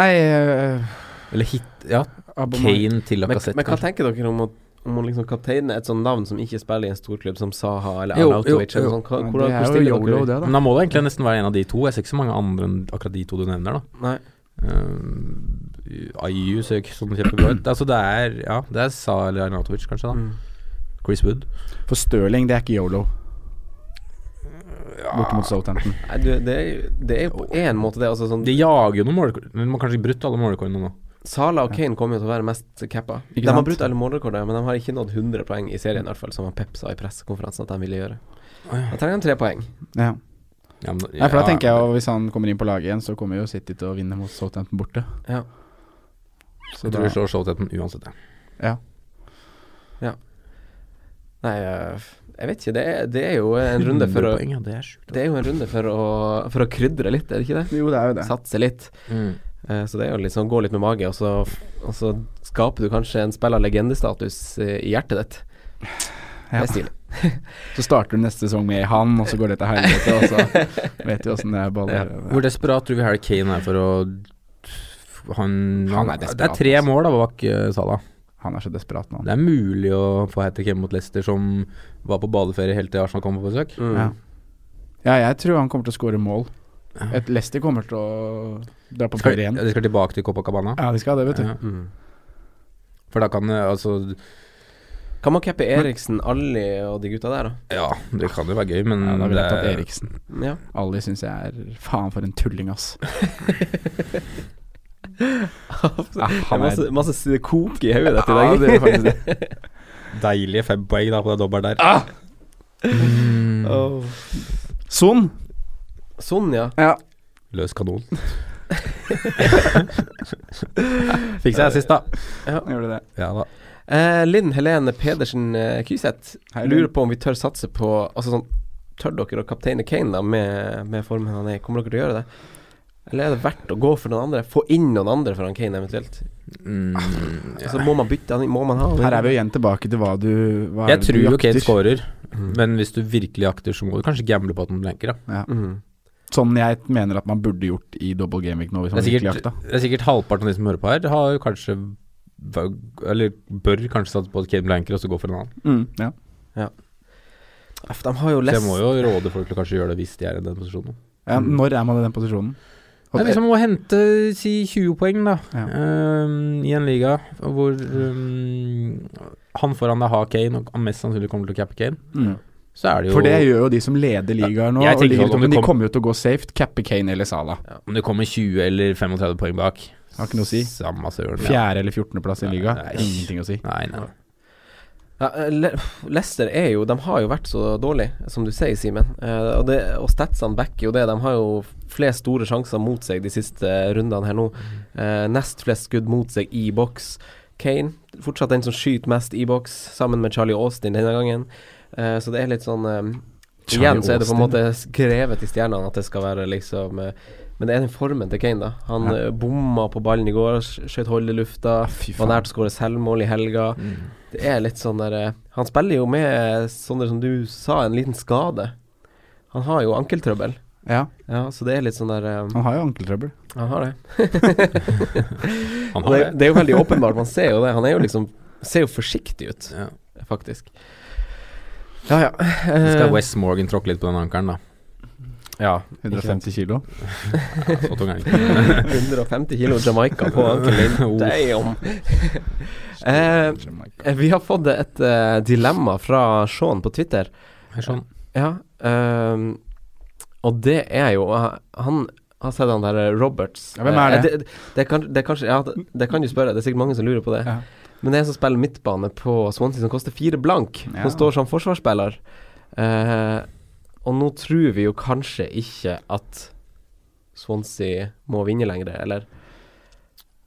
Speaker 2: Nei øh,
Speaker 4: Eller hit Ja,
Speaker 2: Aubameyang.
Speaker 4: Kane til
Speaker 3: Men,
Speaker 4: Lacassette,
Speaker 3: men hva
Speaker 4: kanskje.
Speaker 3: tenker dere om å om å liksom kapteine et sånt navn som ikke spiller i en storklubb som Saha eller
Speaker 4: Jo,
Speaker 3: Arnautovic?
Speaker 4: jo,
Speaker 3: eller
Speaker 4: jo.
Speaker 3: sånn? Hva-
Speaker 2: Ja,
Speaker 3: hvordan-
Speaker 2: det
Speaker 3: hvor
Speaker 2: er
Speaker 3: stiller
Speaker 2: jo
Speaker 3: dere
Speaker 2: yolo,
Speaker 3: dere?
Speaker 2: det, da.
Speaker 4: Men da må det egentlig nesten være en av de to. Jeg ser ikke så mange andre enn akkurat de to du nevner, da.
Speaker 3: Nei.
Speaker 4: Eh, IU ser jo ikke sånn kjempebra ut. Altså det er Ja, det er Sa eller Arnautovic, kanskje, da. Chris Wood.
Speaker 2: For Stirling, det er ikke yolo. Borte mot Southampton.
Speaker 3: Nei, du, det, er, jo- det er jo på én måte det. Altså, sånn,
Speaker 4: De jager jo noen målrekord, men de har kanskje ikke brutt alle målrekordene nå.
Speaker 3: Sala og Kane kommer jo til å være mest cappa. De
Speaker 2: Ikke
Speaker 3: har
Speaker 2: sant?
Speaker 3: brutt alle målrekorder, men de har ikke nådd 100 poeng i serien, i hvert fall, som han Pep sa i pressekonferansen at de ville gjøre. Da trenger de tre poeng.
Speaker 2: Ja.
Speaker 4: Ja, men,
Speaker 2: Nei, for da
Speaker 4: ja,
Speaker 2: tenker jeg jo hvis han kommer inn på laget igjen, så kommer jo City til å vinne mot Southampton borte.
Speaker 3: Ja.
Speaker 2: Så
Speaker 4: Jeg tror vi slår Southampton uansett, jeg.
Speaker 2: Ja.
Speaker 3: Nei, øh, jeg vet ikke. Det er, det er jo en runde for å
Speaker 4: poeng, ja, det er sjukt.
Speaker 3: Det er jo en runde for å, for å krydre litt, er det ikke det?
Speaker 2: Jo, det er jo det.
Speaker 3: Satse litt.
Speaker 4: Mm.
Speaker 3: Eh, Så det er jo litt sånn gå litt med mage, og så, og så skaper du kanskje en spiller legendestatus eh, i hjertet ditt. Det
Speaker 2: Ja.
Speaker 3: er stilig.
Speaker 2: Så starter du neste sesong med han, og så går det til helvete, og så vet du åssen det er baller.
Speaker 4: Hvor desperat tror vi Harry Kane er for å han,
Speaker 2: Han er
Speaker 4: Det
Speaker 2: desperat,
Speaker 4: er tre
Speaker 2: altså.
Speaker 4: mål da bak eh, Salah.
Speaker 2: Han er så desperat nå.
Speaker 4: Det er mulig å få hat trick hjemme mot Leicester, som var på badeferie helt til Arsenal kom på besøk.
Speaker 3: Mm.
Speaker 2: Ja. ja, jeg tror han kommer til å skåre mål. Et Leicester kommer til å dra på
Speaker 4: Skal,
Speaker 2: ferie
Speaker 4: ja,
Speaker 2: igjen.
Speaker 4: de skal tilbake til Copacabana.
Speaker 2: Ja, de skal det, vet du.
Speaker 4: Ja. For da kan eh, altså
Speaker 3: Kan man cappe Eriksen, Alli og de gutta der, da?
Speaker 4: Ja, det kan jo være gøy, men
Speaker 2: Ja, da ville jeg tatt
Speaker 4: Mm, det-
Speaker 2: Eriksen.
Speaker 3: Ja.
Speaker 2: Ali syns jeg er Faen, for en tulling, ass. Ja,
Speaker 3: Det er
Speaker 2: han er
Speaker 3: masse, masse s- kok i hodet ditt i
Speaker 2: Ja,
Speaker 3: dag.
Speaker 2: det er faktisk det.
Speaker 4: Deilige fem poeng da på det dobbelt der.
Speaker 3: Åh.
Speaker 2: Son.
Speaker 3: Sånn, ja.
Speaker 2: Ja.
Speaker 4: Løs kanon. Fikk seg sist, da.
Speaker 2: Gjorde det.
Speaker 4: Ja da.
Speaker 3: Eh, Linn Helene Pedersen eh, Kyseth
Speaker 2: Hei, Linn.
Speaker 3: lurer på om vi tør satse på Altså sånn Tør dere å kapteine Kane da med, med formen han er i? Kommer dere til å gjøre det? Eller er det verdt å gå for noen andre? Få inn noen andre for han Kane eventuelt? Så må man bytte han inn? Må man ha han inn?
Speaker 2: Her er vi jo igjen tilbake til hva du hva er
Speaker 4: Jeg
Speaker 2: det
Speaker 4: tror
Speaker 2: du
Speaker 4: jo Kane
Speaker 2: jakter? Mm.
Speaker 4: scorer, men hvis du virkelig akter, så må du kanskje gamble på at han blanker, da.
Speaker 2: Ja.
Speaker 3: Mhm.
Speaker 2: Sånn jeg mener at man burde gjort i double game week nå, hvis
Speaker 4: Det
Speaker 2: man
Speaker 4: er
Speaker 2: virkelig
Speaker 4: sikkert,
Speaker 2: jakta.
Speaker 4: det er sikkert halvparten av de som hører på her, har kanskje vag- eller bør kanskje satse på at Kane blanker og så gå for en annen.
Speaker 2: Mm, ja.
Speaker 3: Aff, De har jo
Speaker 4: Så jeg
Speaker 3: lest
Speaker 4: må jo råde folk til å kanskje gjøre det hvis de er i den posisjonen.
Speaker 2: Ja, Når er man i den posisjonen? Og
Speaker 4: Det er
Speaker 2: det-
Speaker 4: liksom å hente si 20 poeng, da,
Speaker 2: Ja.
Speaker 4: ehm, i en liga hvor ehm, han foran deg har Kane, og han mest sannsynlig kommer til å cappe Kane,
Speaker 2: Mm.
Speaker 4: så er det jo
Speaker 2: For det gjør jo de som leder ligaer nå.
Speaker 4: Jeg
Speaker 2: og
Speaker 4: tenker
Speaker 2: ligger
Speaker 4: at om
Speaker 2: toppen.
Speaker 4: det
Speaker 2: de
Speaker 4: kom-
Speaker 2: kommer jo til å gå safe, cappe Kane eller Salah.
Speaker 4: Om det kommer 20 eller 35 poeng bak,
Speaker 2: Har ikke noe å si.
Speaker 4: samme søren. ja.
Speaker 2: Fjerde- eller 14.-plass i liga.
Speaker 4: Nei.
Speaker 2: Ingenting å si.
Speaker 4: Nei, nei.
Speaker 3: Ja, eh, Le- Leicester er jo De har jo vært så dårlig, som du sier, Simen. Eh, og, det- og statsene backer jo det. De har jo flest store sjanser mot seg de siste rundene her nå.
Speaker 2: Mm.
Speaker 3: Eh, nest flest skudd mot seg i boks. Kane fortsatt den som skyter mest i boks, sammen med Charlie Austin denne gangen. Eh, så det er litt sånn eh, Igjen så er det på en måte skrevet i stjernene at det skal være liksom eh, Men det er den formen til Kane, da. Han eh, bomma på ballen i går, sk- skjøt hold i lufta,
Speaker 2: fy
Speaker 3: var
Speaker 2: faen.
Speaker 3: nær til å skåre selvmål i helga.
Speaker 4: Mm.
Speaker 3: Det er litt sånn der eh, Han spiller jo med, eh, Sondre, som du sa, en liten skade. Han har jo ankeltrøbbel.
Speaker 2: Ja,
Speaker 3: Ja, så det er litt sånn der eh,
Speaker 2: han har jo ankeltrøbbel.
Speaker 3: Han har det.
Speaker 4: Han
Speaker 3: Og
Speaker 4: har
Speaker 3: det,
Speaker 4: det.
Speaker 3: det er jo veldig åpenbart, man ser jo det. Han er jo liksom Ser jo forsiktig ut,
Speaker 4: Ja.
Speaker 3: faktisk. Ja, ja.
Speaker 4: Så
Speaker 3: Eh,
Speaker 4: skal West Morgan tråkke litt på den ankelen, da.
Speaker 3: ja.
Speaker 2: 150 kilo.
Speaker 4: Ja, Så tung er den ikke.
Speaker 3: 150 kilo Jamaica på ankelen. Damn. Eh, eh, vi har fått et eh, dilemma fra Sean på Twitter.
Speaker 4: Det er sånn.
Speaker 3: Ja, ehm, og det er jo eh, Han har sett han der eh, Roberts.
Speaker 2: Ja, hvem er
Speaker 3: Eh,
Speaker 2: det?
Speaker 3: det, det, kan, det, er kanskje, ja, det, det kan du spørre, det er sikkert mange som lurer på det.
Speaker 2: Ja.
Speaker 3: Men det er en som spiller midtbane på Swansea, som koster fire blank.
Speaker 2: Ja.
Speaker 3: Som står som forsvarsspiller. Eh, og nå tror vi jo kanskje ikke at Swansea må vinne lenger, eller?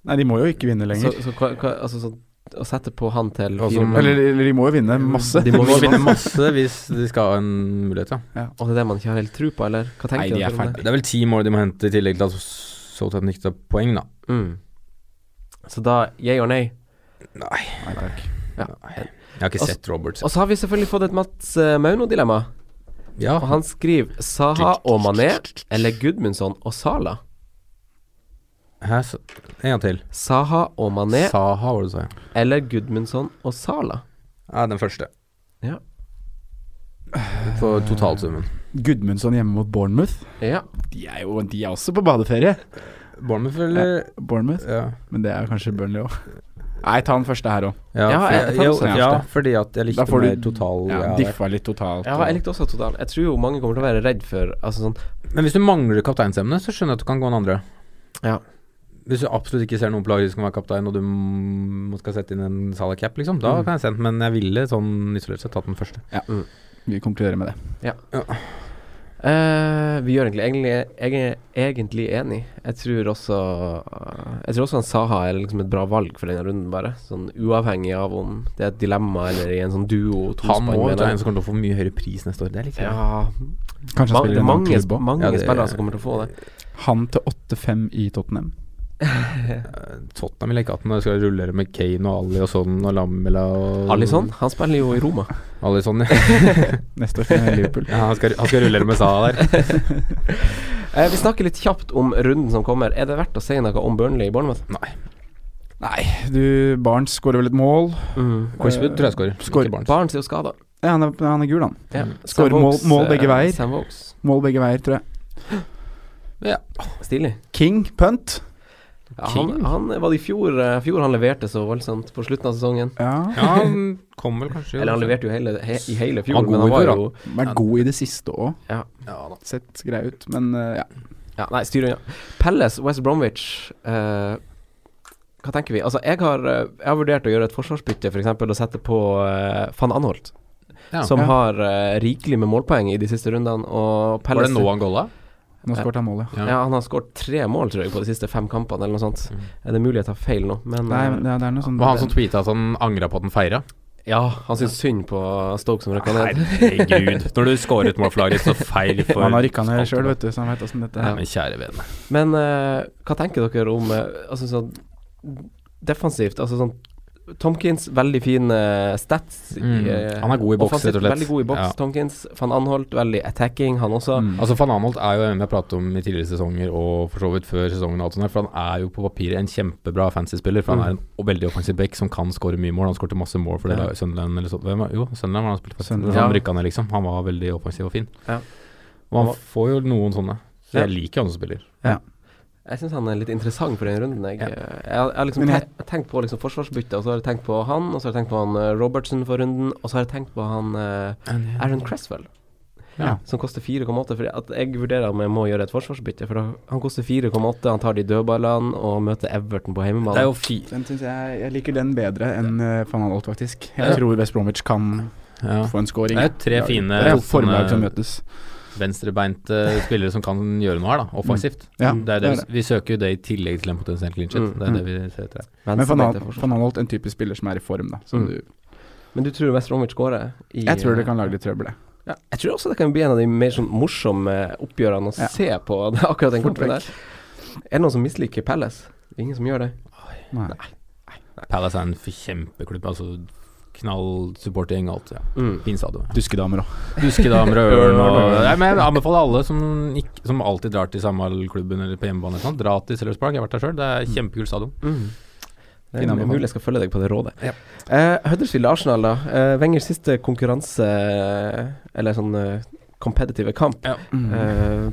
Speaker 2: Nei, de må jo ikke vinne
Speaker 3: Så,
Speaker 2: lenger.
Speaker 3: så, hva, hva, altså, så å sette på han til
Speaker 4: Altså,
Speaker 3: fire blank,
Speaker 2: sånn, eller, eller de må jo vinne masse.
Speaker 4: De må vinne masse hvis de skal ha en mulighet, ja.
Speaker 3: og det er det man ikke har helt tro på, eller? Hva tenker
Speaker 2: Nei, de er
Speaker 3: dere om
Speaker 2: ferdig.
Speaker 4: Det er vel ti mål de må hente, i tillegg til at Southampton ikke tar poeng, da.
Speaker 3: det? Mm. Så da yay or nay?
Speaker 4: Nei.
Speaker 2: Nei, takk.
Speaker 4: Jeg har ikke
Speaker 3: Altså-
Speaker 4: sett Roberts.
Speaker 3: Og så har vi selvfølgelig fått et Mats eh, Mauno-dilemma.
Speaker 4: Ja,
Speaker 3: Og han skriver Saha og Mané eller Gudmundsson og Sala.
Speaker 4: Hæ, så, en gang til.
Speaker 3: Saha og Mané
Speaker 4: Saha, var det du sa? ja.
Speaker 3: eller Gudmundsson og Sala.
Speaker 4: Ja, den første.
Speaker 3: Ja.
Speaker 4: På totalsummen.
Speaker 2: Gudmundsson sånn hjemme mot Bournemouth.
Speaker 3: Ja.
Speaker 2: De er jo de er også på badeferie.
Speaker 4: Bournemouth, eller?
Speaker 2: Bournemouth,
Speaker 4: Ja.
Speaker 2: men det er kanskje Burnley òg. Nei, ta den første her òg.
Speaker 4: Ja,
Speaker 3: Ja,
Speaker 4: for-
Speaker 3: jeg- jeg tar også
Speaker 4: jo,
Speaker 2: den
Speaker 4: ja,
Speaker 2: første.
Speaker 4: fordi at jeg
Speaker 2: Da
Speaker 4: likte
Speaker 2: får
Speaker 4: mer
Speaker 2: du-
Speaker 4: total
Speaker 2: Ja,
Speaker 4: ja, der.
Speaker 2: Diffa litt totalt.
Speaker 3: ja, jeg likte også total. Jeg tror jo mange kommer til å være redd for Altså sånn
Speaker 4: Men hvis du mangler kapteinsemne, så skjønner jeg at du kan gå en andre.
Speaker 3: Ja.
Speaker 4: Hvis du absolutt ikke ser noen på laget som kan være kaptein, og du m- skal sette inn en Salah cap,
Speaker 3: Mm.
Speaker 4: liksom, da kan jeg sende den. Men jeg ville sånn isolert sett tatt den første.
Speaker 2: Vi konkluderer med det.
Speaker 3: eh, Vi gjør egentlig egentlig, Jeg er egentlig enig. Jeg tror også Jeg tror også han Saha er liksom et bra valg for denne runden, bare. Sånn uavhengig av om det er et dilemma eller i en sånn duo.
Speaker 4: Han
Speaker 3: tospann
Speaker 4: må
Speaker 3: med
Speaker 4: jo ta
Speaker 3: det.
Speaker 4: en som kommer til å få mye høyere pris neste år. Det liker jeg.
Speaker 3: Ja,
Speaker 2: Kanskje han
Speaker 3: ma
Speaker 2: spiller i en annen
Speaker 3: mange,
Speaker 2: klubb
Speaker 3: sp-
Speaker 2: òg.
Speaker 3: mange
Speaker 4: Ja, det-
Speaker 3: spillere som kommer til å få det.
Speaker 2: Mm. Han til 8-5 i Tottenham.
Speaker 4: Tottenham vil ikke at han skal rullere med Kane og Ali og sånn, og Lamela og
Speaker 3: Alisson, han spiller jo i Roma.
Speaker 4: Alisson, ja.
Speaker 2: Neste år er Liverpool.
Speaker 4: ja han, skal, han skal rullere med Salah der.
Speaker 3: Eh, vi snakker litt kjapt om runden som kommer. Er det verdt å si noe om Burnley i Bournemouth?
Speaker 4: Nei.
Speaker 2: Nei, du Barnes skårer vel et mål.
Speaker 4: Korsbud tror jeg skårer.
Speaker 2: Skår-
Speaker 4: Ikke Barnes.
Speaker 3: Barents er jo skada.
Speaker 2: Ja, han er, han er gul, han.
Speaker 3: Ja.
Speaker 2: Skårer
Speaker 3: Sam Vokes,
Speaker 2: mål- mål
Speaker 3: eh,
Speaker 2: begge veier.
Speaker 3: Sam Vokes.
Speaker 2: Mål begge veier, tror jeg.
Speaker 3: Stilig.
Speaker 2: King, punt.
Speaker 3: Ja, han,
Speaker 4: King?
Speaker 3: han var det i fjor, eh, fjor han leverte så voldsomt på slutten av sesongen.
Speaker 2: Ja.
Speaker 4: Ja, han kom vel kanskje
Speaker 3: Eller han leverte jo hele, he, i hele fjor,
Speaker 4: Han var
Speaker 3: men han
Speaker 4: god i
Speaker 3: var
Speaker 4: fjor,
Speaker 3: jo
Speaker 2: Vært god i det siste òg.
Speaker 4: Ja da.
Speaker 2: Sett grei ut, men eh, ja.
Speaker 3: ja, Nei, styr unna. Palace, West Bromwich. eh, hva tenker vi? Altså, jeg har, eh, jeg har vurdert å gjøre et forsvarsbytte, f.eks. eksempel å sette på eh, van Anholt,
Speaker 4: Ja.
Speaker 3: som
Speaker 2: Ja.
Speaker 3: har eh, rikelig med målpoeng i de siste rundene. Og
Speaker 4: Var
Speaker 3: Palace
Speaker 4: det nå han golla?
Speaker 2: Nå skåret han mål, ja.
Speaker 4: Ja.
Speaker 3: Ja, han har skåret tre mål, tror jeg, på de siste fem kampene, eller noe sånt. Er det mulig jeg tar feil nå, men eh,
Speaker 2: Nei, men det er- det er noe sånn
Speaker 4: Det var han som tweeta at han angra på at han feira.
Speaker 3: ja, han syns synd på Stoke som røkka ned.
Speaker 4: Herregud. Når du scorer et mål for laget, så feil for
Speaker 2: Han har rykka ned sjøl, vet du, så han veit åssen dette
Speaker 4: Ja,
Speaker 2: er.
Speaker 4: men kjære vene.
Speaker 3: Men eh, hva tenker dere om eh, Altså sånn defensivt, altså sånn Tomkins, veldig fin eh, stats. i,
Speaker 4: Mm.
Speaker 3: eh,
Speaker 4: Han er god i boks,
Speaker 3: offensivt,
Speaker 4: rett og slett.
Speaker 3: Veldig god i boks,
Speaker 4: Ja.
Speaker 3: Tomkins. Van Anholt, veldig attacking, han også.
Speaker 4: Altså Van Anholt er jo en vi har pratet om i tidligere sesonger og for så vidt før sesongen. og alt sånt der, For han er jo på papiret en kjempebra fantasy-spiller. For han er en o- veldig offensiv back som kan skåre mye mål. Han skårte masse mål for det
Speaker 3: Ja.
Speaker 4: laget- Sunderland eller så. Hvem var, jo, Sunderland var han spilte for.
Speaker 2: Sunderland.
Speaker 4: Han
Speaker 3: Ja.
Speaker 4: rykka ned, liksom. Han var veldig offensiv og fin.
Speaker 3: Ja.
Speaker 4: Og
Speaker 3: Han var-
Speaker 4: han får jo noen sånne. Så jeg
Speaker 3: Ja.
Speaker 4: liker han som spiller.
Speaker 3: Jeg syns han er litt interessant for den runden. Jeg,
Speaker 4: Ja.
Speaker 3: Eh, jeg, har- jeg har liksom
Speaker 2: Men jeg-
Speaker 3: te- tenkt på liksom forsvarsbytte, og så har jeg tenkt på han, og så har jeg tenkt på han eh, Robertson for runden, og så har jeg tenkt på han eh, Aaron Cresswell.
Speaker 4: Ja.
Speaker 3: Som koster 4,8. For at jeg vurderer om jeg må gjøre et forsvarsbytte. For da, han koster 4,8, han tar de dødballene og møter Everton på hjemmebane.
Speaker 4: Det er jo fi...
Speaker 2: Den synes jeg, jeg liker den bedre enn eh, van Anholt, faktisk. Jeg
Speaker 4: Ja.
Speaker 2: tror West Bromwich kan
Speaker 4: Ja.
Speaker 2: få en scoring.
Speaker 4: Det er tre
Speaker 2: Ja,
Speaker 4: fine
Speaker 2: Det er formlag som
Speaker 4: sånne-
Speaker 2: møtes.
Speaker 4: Venstrebeinte spillere som kan gjøre noe her, da. Offensivt.
Speaker 2: Ja,
Speaker 4: Det er Mm. det vi, vi søker jo det i tillegg til en potensiell clean shit.
Speaker 3: Mm.
Speaker 4: Det er det vi ser etter. her.
Speaker 2: Men van
Speaker 3: Venstrebeinte
Speaker 2: Anholt-
Speaker 3: forsvar.
Speaker 2: van Anholt er en type spiller som er i form, da. Så
Speaker 3: Mm.
Speaker 2: du,
Speaker 3: Men du tror West Bromwich skårer? i-
Speaker 2: jeg tror det kan lage litt trøbbel, jeg.
Speaker 3: Ja, jeg tror også det kan bli en av de mer sånn morsomme oppgjørene å
Speaker 2: Ja.
Speaker 3: se på det, er akkurat den
Speaker 2: Fort
Speaker 3: kampen der. Er det noen som misliker Palace? Det er ingen som gjør det.
Speaker 2: Nei.
Speaker 4: Palace er en f- kjempeklubb. Altså knallsupportergjeng og alt. Ja.
Speaker 3: Mm.
Speaker 4: Fin stadion.
Speaker 2: Duskedamer òg.
Speaker 4: Duskedamer og
Speaker 2: Ørn
Speaker 4: ørn og
Speaker 2: og-
Speaker 4: Nei, men Jeg anbefaler alle som, ikk- som alltid drar til samme klubben eller på hjemmebane, eller sånt, dra til Sellers Park. Jeg har vært der sjøl. Det er kjempekult stadion.
Speaker 2: Mm.
Speaker 3: Det
Speaker 2: Fin
Speaker 3: er
Speaker 2: anbefaling.
Speaker 3: mulig jeg skal følge deg på det rådet.
Speaker 4: Ja.
Speaker 3: Eh, Huddersfield Arsenal, da. Eh, Wengers siste konkurranse, eller sånn eh, competitive kamp.
Speaker 4: Ja.
Speaker 2: Mm.
Speaker 3: Eh,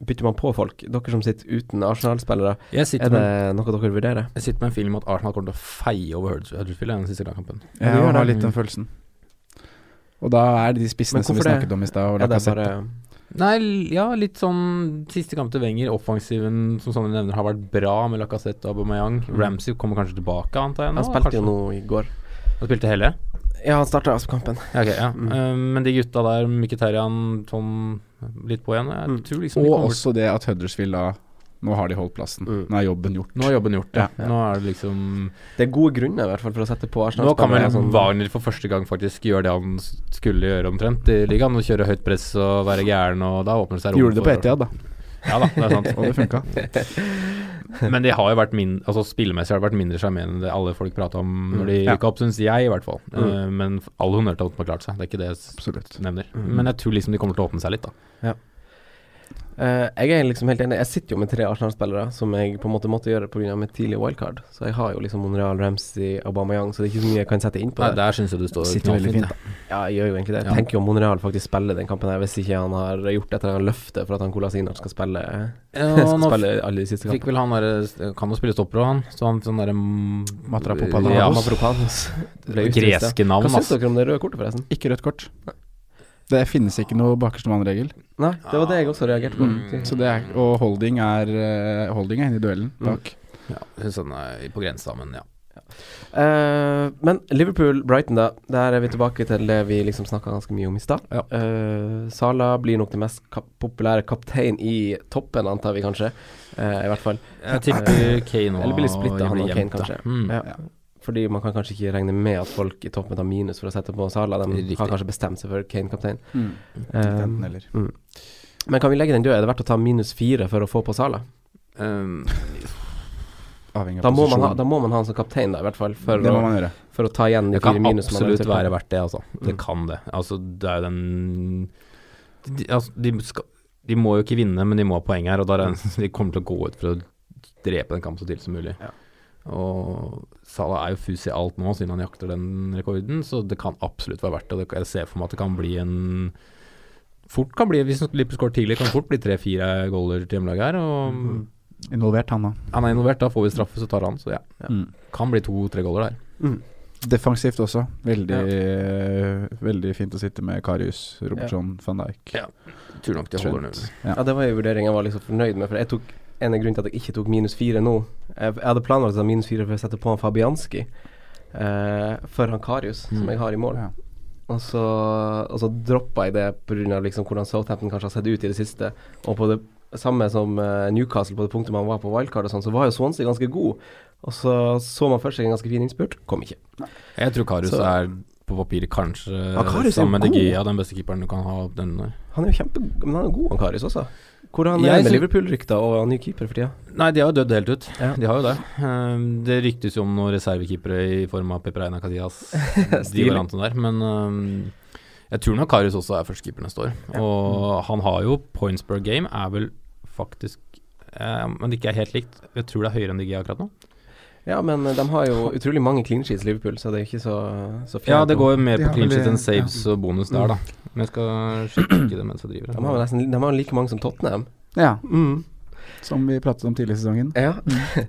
Speaker 3: bytter man på folk? Dere som sitter uten Arsenal-spillere,
Speaker 4: Jeg
Speaker 3: er
Speaker 4: sitter,
Speaker 3: det
Speaker 4: med,
Speaker 3: noe dere vurderer?
Speaker 4: jeg sitter med en film at Arsenal kommer til å feie over Huddersfield- Huddersfield i den siste kampen.
Speaker 3: Ja, du gjør
Speaker 2: Jeg har
Speaker 3: det.
Speaker 2: litt den følelsen. Og da er det de spissene
Speaker 3: Men
Speaker 2: som vi
Speaker 3: hvorfor det?
Speaker 2: snakket om i stad, og
Speaker 3: Er det
Speaker 2: Lacassette.
Speaker 3: bare
Speaker 4: Nei, l- ja, litt sånn siste kamp til Wenger. Offensiven som Sanne nevner har vært bra med Lacassette og Aubameyang.
Speaker 2: Mm.
Speaker 4: Ramsey kommer kanskje tilbake, antar jeg. nå
Speaker 3: Han spilte
Speaker 4: kanskje.
Speaker 3: jo noe i går.
Speaker 4: Han spilte hele?
Speaker 3: Ja, han starta altså kampen.
Speaker 4: Ja, ok, ja.
Speaker 2: Mm.
Speaker 4: Eh, men de gutta der, Mkhitaryan, Tom litt på igjen Jeg
Speaker 3: Mm.
Speaker 4: tror liksom de
Speaker 2: Og
Speaker 4: kommer-
Speaker 2: også det at Huddersfield da Nå har de holdt plassen.
Speaker 3: Mm.
Speaker 2: Nå er jobben gjort.
Speaker 4: Nå er jobben gjort, ja.
Speaker 2: Ja.
Speaker 4: Nå er det liksom
Speaker 3: Det er gode grunner i hvert fall for å sette på
Speaker 4: Nå kan
Speaker 3: Arsenal-spillere. Sånn-
Speaker 4: vel
Speaker 2: sånn-
Speaker 4: Wagner for første gang faktisk gjøre det han s- skulle gjøre omtrent i ligaen. Å kjøre høyt press og være gæren, og da åpner det seg rom
Speaker 2: Gjorde det på
Speaker 4: for-
Speaker 2: Etiad, da.
Speaker 4: Ja da, det er sant.
Speaker 2: Og det funka.
Speaker 4: Men de har jo vært min, altså spillemessig har det vært mindre sjarmerende enn det alle folk prater om når de
Speaker 2: Ja.
Speaker 4: rykka opp, syns jeg i hvert fall. Eh,
Speaker 3: Mm.
Speaker 4: men f- all honnør til at de har klart seg, det er ikke det jeg s-
Speaker 2: Absolutt.
Speaker 4: nevner. Men jeg tror liksom de kommer til å åpne seg litt, da.
Speaker 3: Eh, jeg er liksom helt enig. Jeg sitter jo med tre Arsenal-spillere som jeg på en måte måtte gjøre pga. mitt tidlige wildcard. Så jeg har jo liksom Monreal, Ramsey, Aubameyang, så det er ikke så mye jeg kan sette inn på
Speaker 4: Nei,
Speaker 3: det.
Speaker 4: der syns jeg du står
Speaker 2: Sitter veldig fint,
Speaker 4: ja.
Speaker 2: da.
Speaker 3: Ja, jeg gjør jo egentlig det. Jeg
Speaker 4: Ja.
Speaker 3: tenker jo Monreal faktisk spiller den kampen her, hvis ikke han har gjort et eller annet løfte for at han Colasinac skal spille
Speaker 4: Ja,
Speaker 3: Skal
Speaker 4: nå
Speaker 3: spille alle de siste
Speaker 4: Fikk
Speaker 3: kampene.
Speaker 4: vel han derre Kan jo spille stopper òg, han. Så han sånn derre mm,
Speaker 2: Matrapopanos.
Speaker 4: Ja, Matrapopanos.
Speaker 3: Mavropanos. Det ble utvist, ja.
Speaker 4: Greske navn,
Speaker 3: Hva syns
Speaker 4: ass.
Speaker 3: dere om det røde kortet, forresten?
Speaker 2: Ikke rødt kort. Det finnes ikke noe bakerste mann-regel.
Speaker 3: Nei, det var det jeg også reagerte på.
Speaker 4: Mm.
Speaker 2: Så det er, og holding er eh, Holding er inne i duellen
Speaker 3: Mm.
Speaker 2: bak.
Speaker 4: Ja, jeg synes han er på grensa, men ja.
Speaker 3: Eh, men Liverpool-Brighton, da. Der er vi tilbake til det vi liksom snakka ganske mye om i stad.
Speaker 4: Ja.
Speaker 3: Eh, Salah blir nok den mest kap populære kaptein i toppen, antar vi kanskje. Eh, I hvert fall.
Speaker 4: Jeg tipper Kane og
Speaker 3: Eller blir det splittet, han og
Speaker 4: blir
Speaker 3: Kane,
Speaker 4: jevnt, da.
Speaker 3: kanskje?
Speaker 4: Mm.
Speaker 3: Ja. Fordi man kan kanskje ikke regne med at folk i toppen tar minus for å sette på Salah. De
Speaker 4: Riktig.
Speaker 3: har kanskje bestemt seg for Kane-kaptein.
Speaker 2: Mm.
Speaker 3: Eh,
Speaker 2: Enten eller.
Speaker 3: men kan vi legge den død? Er det verdt å ta minus fire for å få på Salah?
Speaker 4: Um,
Speaker 2: Avhengig
Speaker 3: Da
Speaker 2: av
Speaker 3: må, man ha,
Speaker 2: posisjon.
Speaker 3: da må man ha han som kaptein, da, i hvert fall. For,
Speaker 2: det må
Speaker 3: å,
Speaker 2: man gjøre.
Speaker 3: for å ta igjen de
Speaker 4: det
Speaker 3: fire
Speaker 4: kan
Speaker 3: minus man
Speaker 4: absolutt
Speaker 3: eventuelt har.
Speaker 4: være verdt det, altså. Det kan det. Altså, det er jo den de, altså, de, skal, de må jo ikke vinne, men de må ha poeng her, og da er det, de kommer til å gå ut for å drepe den kampen så tidlig som mulig. Og Salah er jo fus i alt nå, siden han jakter den rekorden, så det kan absolutt være verdt det. Og det- Jeg ser for meg at det kan bli en Fort kan bli, Hvis Lippe skårer tidlig, kan det fort bli tre-fire goaler til hjemmelaget her. Og
Speaker 2: Involvert, han òg.
Speaker 4: han er involvert, da får vi straffe, så tar han. Så ja,
Speaker 2: Mm.
Speaker 4: kan bli to-tre goaler der.
Speaker 2: Defensivt også. Veldig eh, Veldig fint å sitte med Karius, Robertson, van Dijk.
Speaker 4: Ja. Tror nok de holder den
Speaker 2: Trent.
Speaker 4: under.
Speaker 3: Ja, det var jo vurderingen jeg var liksom fornøyd med, for jeg tok en av grunnen til at jeg ikke tok minus fire nå. Jeg, jeg hadde planlagt å ta minus fire for å sette på han Fabianski eh, for han Karius, som jeg har i mål.
Speaker 2: Ja.
Speaker 3: Og så, og så droppa jeg det pga. Liksom hvordan Southampton kanskje har sett ut i det siste. Og på det samme som eh, Newcastle, på det punktet man var på wildcard og sånn, så var jo Swansea ganske god. Og så så man først en ganske fin innspurt, kom ikke.
Speaker 4: Jeg tror Karius
Speaker 3: Så-
Speaker 4: er på papiret kanskje
Speaker 3: Karius er
Speaker 4: sammen med
Speaker 3: god.
Speaker 4: De Gea den beste keeperen du kan ha opp denne.
Speaker 3: Han er jo kjempe... Men han er god, han Karius også. Hvordan er
Speaker 4: Jeg
Speaker 3: det med
Speaker 4: syns-
Speaker 3: Liverpool-rykter og ny keeper for tida?
Speaker 4: Nei, de har jo dødd helt ut.
Speaker 3: Ja.
Speaker 4: De har jo det. Ehm, det ryktes jo om noen reservekeepere i form av Pepreina Casillas, de
Speaker 3: Stilig.
Speaker 4: variantene der. Men ehm, jeg tror nok Karius også er førstekeeper neste år. Og han har jo points per game, er vel faktisk eh, Men det ikke er helt likt. Jeg tror det er høyere enn DG akkurat nå.
Speaker 3: Ja, men eh, de har jo utrolig mange clean sheets, Liverpool, så det er ikke så, så fjernt
Speaker 4: Ja, det
Speaker 3: nå.
Speaker 4: går jo mer
Speaker 2: De
Speaker 4: på
Speaker 2: har
Speaker 4: clean
Speaker 2: vel-
Speaker 4: sheet enn saves og bonus der, da. Men jeg skal sjekke det mens jeg driver.
Speaker 3: De har jo nesten de har like mange som Tottenham.
Speaker 2: Ja,
Speaker 3: Mm.
Speaker 2: som vi pratet om tidligere i sesongen.
Speaker 3: Ja.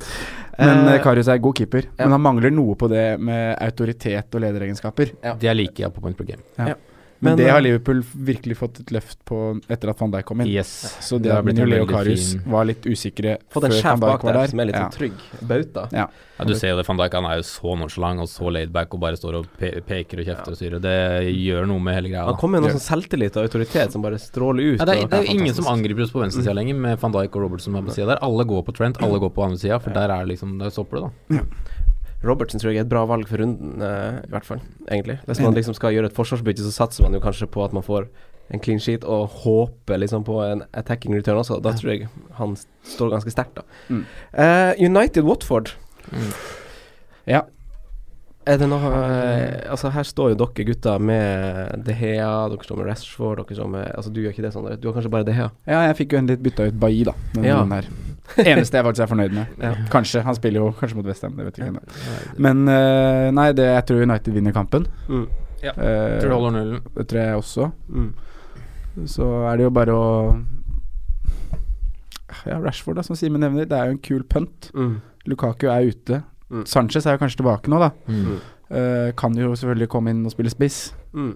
Speaker 2: Men
Speaker 3: Eh,
Speaker 2: eh, Karius er god keeper.
Speaker 3: ja.
Speaker 2: Men han mangler noe på det med autoritet og lederegenskaper.
Speaker 4: De er like ja, på points per game.
Speaker 2: Men,
Speaker 3: Men,
Speaker 2: det
Speaker 3: eh,
Speaker 2: har Liverpool virkelig fått et løft på etter at van Dijk kom inn.
Speaker 4: Yes.
Speaker 2: Så det,
Speaker 4: Det har
Speaker 2: at
Speaker 4: blitt en
Speaker 2: Minoli og
Speaker 4: veldig
Speaker 2: Karius
Speaker 4: fin-
Speaker 2: var litt usikre
Speaker 3: Fått en
Speaker 2: før
Speaker 3: sjef
Speaker 2: van
Speaker 3: bak
Speaker 2: Dijk var
Speaker 3: der
Speaker 2: der.
Speaker 3: som er litt
Speaker 2: ja.
Speaker 3: sånn trygg. Bauta.
Speaker 2: Ja.
Speaker 4: Ja, du ser jo det, van Dijk han er jo så nonchalant og så laid back og bare står og pe peker og kjefter og styrer. Det gjør noe med hele greia.
Speaker 3: Han
Speaker 4: Da.
Speaker 3: kommer med noe sånn selvtillit og autoritet som bare stråler ut.
Speaker 4: Ja, Mm. det, er,
Speaker 3: og-
Speaker 4: det er jo ingen
Speaker 3: fantastisk.
Speaker 4: som angriper oss på venstresida lenger, med van Dijk og Robertson her på sida der. Alle går på Trent, alle går på andre sida, for der er liksom Der stopper det, da.
Speaker 3: Robertsen tror jeg er et bra valg for runden, eh, i hvert fall. Egentlig. Hvis man liksom skal gjøre et forsvarsbytte, så satser man jo kanskje på at man får en clean sheet, og håper liksom på en attacking return også. Da tror jeg han s- står ganske sterkt, da.
Speaker 2: Mm.
Speaker 3: Eh, United Watford.
Speaker 4: Mm.
Speaker 2: Ja.
Speaker 3: Er det noe eh, Altså, her står jo dere gutta med De Hea, dere står med Rashford, dere står med Altså, du gjør ikke det, Sondre. Du har kanskje bare De Hea.
Speaker 2: ja, jeg fikk jo en litt bytta ut Bailly, da. Denne
Speaker 3: Ja.
Speaker 2: runden her. Eneste jeg faktisk er fornøyd med. Kanskje. Han spiller jo kanskje mot Westham, det vet jeg ikke ennå. Men eh, nei, det, jeg tror United vinner kampen.
Speaker 3: Mm.
Speaker 4: Ja.
Speaker 2: Eh,
Speaker 4: Tror du holder nullen?
Speaker 2: det tror jeg også.
Speaker 3: Mm.
Speaker 2: Så er det jo bare å Ja, Rashford, da, som Simen nevner. Det er jo en kul punt.
Speaker 3: Mm.
Speaker 2: Lukaku er ute.
Speaker 3: Mm.
Speaker 2: Sanchez er jo kanskje tilbake nå, da.
Speaker 4: Mm.
Speaker 2: Eh, kan jo selvfølgelig komme inn og spille spiss,
Speaker 3: Mm.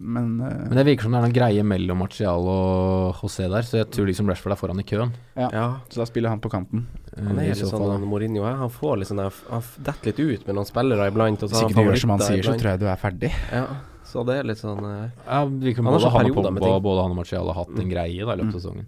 Speaker 2: men eh,
Speaker 4: Men det virker som det er noen greie mellom Martial og José der, så jeg tror liksom Rashford er foran i køen.
Speaker 3: Ja.
Speaker 2: Så da spiller han på kanten.
Speaker 4: eh,
Speaker 3: Han er
Speaker 4: i
Speaker 3: litt
Speaker 4: så
Speaker 3: sånn
Speaker 4: fall, da.
Speaker 3: han Mourinho er. Han får litt sånn der- Han f- detter litt ut med noen spillere iblant. Og så
Speaker 2: Hvis
Speaker 3: har
Speaker 2: ikke du gjør som han
Speaker 3: favoritter
Speaker 2: sier, så
Speaker 3: iblant.
Speaker 2: tror jeg du er ferdig.
Speaker 3: Ja, så det er litt sånn eh,
Speaker 4: Ja, det virker som
Speaker 3: Han har
Speaker 4: både
Speaker 3: sånn
Speaker 4: han og
Speaker 3: perioder med
Speaker 4: Pogba
Speaker 3: ting.
Speaker 4: både han og Martial har hatt en greie da i løpet av sesongen.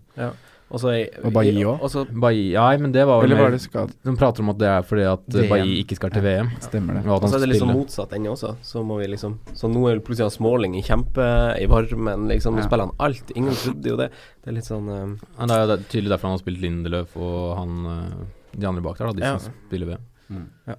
Speaker 3: Og så er-
Speaker 2: Og Bailly også.
Speaker 3: og så-
Speaker 4: Bailly Nei, men det var vel
Speaker 2: Eller var
Speaker 4: mer
Speaker 2: det skad...
Speaker 4: De prater om at det er Altså, fordi at eh,
Speaker 2: VM.
Speaker 4: Bailly ikke skal til VM.
Speaker 2: Stemmer det.
Speaker 4: Og at
Speaker 3: Og så
Speaker 4: han
Speaker 3: er det
Speaker 4: skal
Speaker 3: litt sånn
Speaker 4: spille.
Speaker 3: motsatt ende også. Så må vi liksom Så nå er plutselig han Småling i kjempe i varmen, liksom. Nå
Speaker 2: Ja.
Speaker 3: spiller han alt. Ingen trodde jo det. Det er litt sånn eh,
Speaker 4: Ja, det er jo det- tydelig derfor han har spilt Lindeløf og han eh, de andre bak der, da, de
Speaker 3: Ja.
Speaker 4: som spiller VM.
Speaker 3: eh,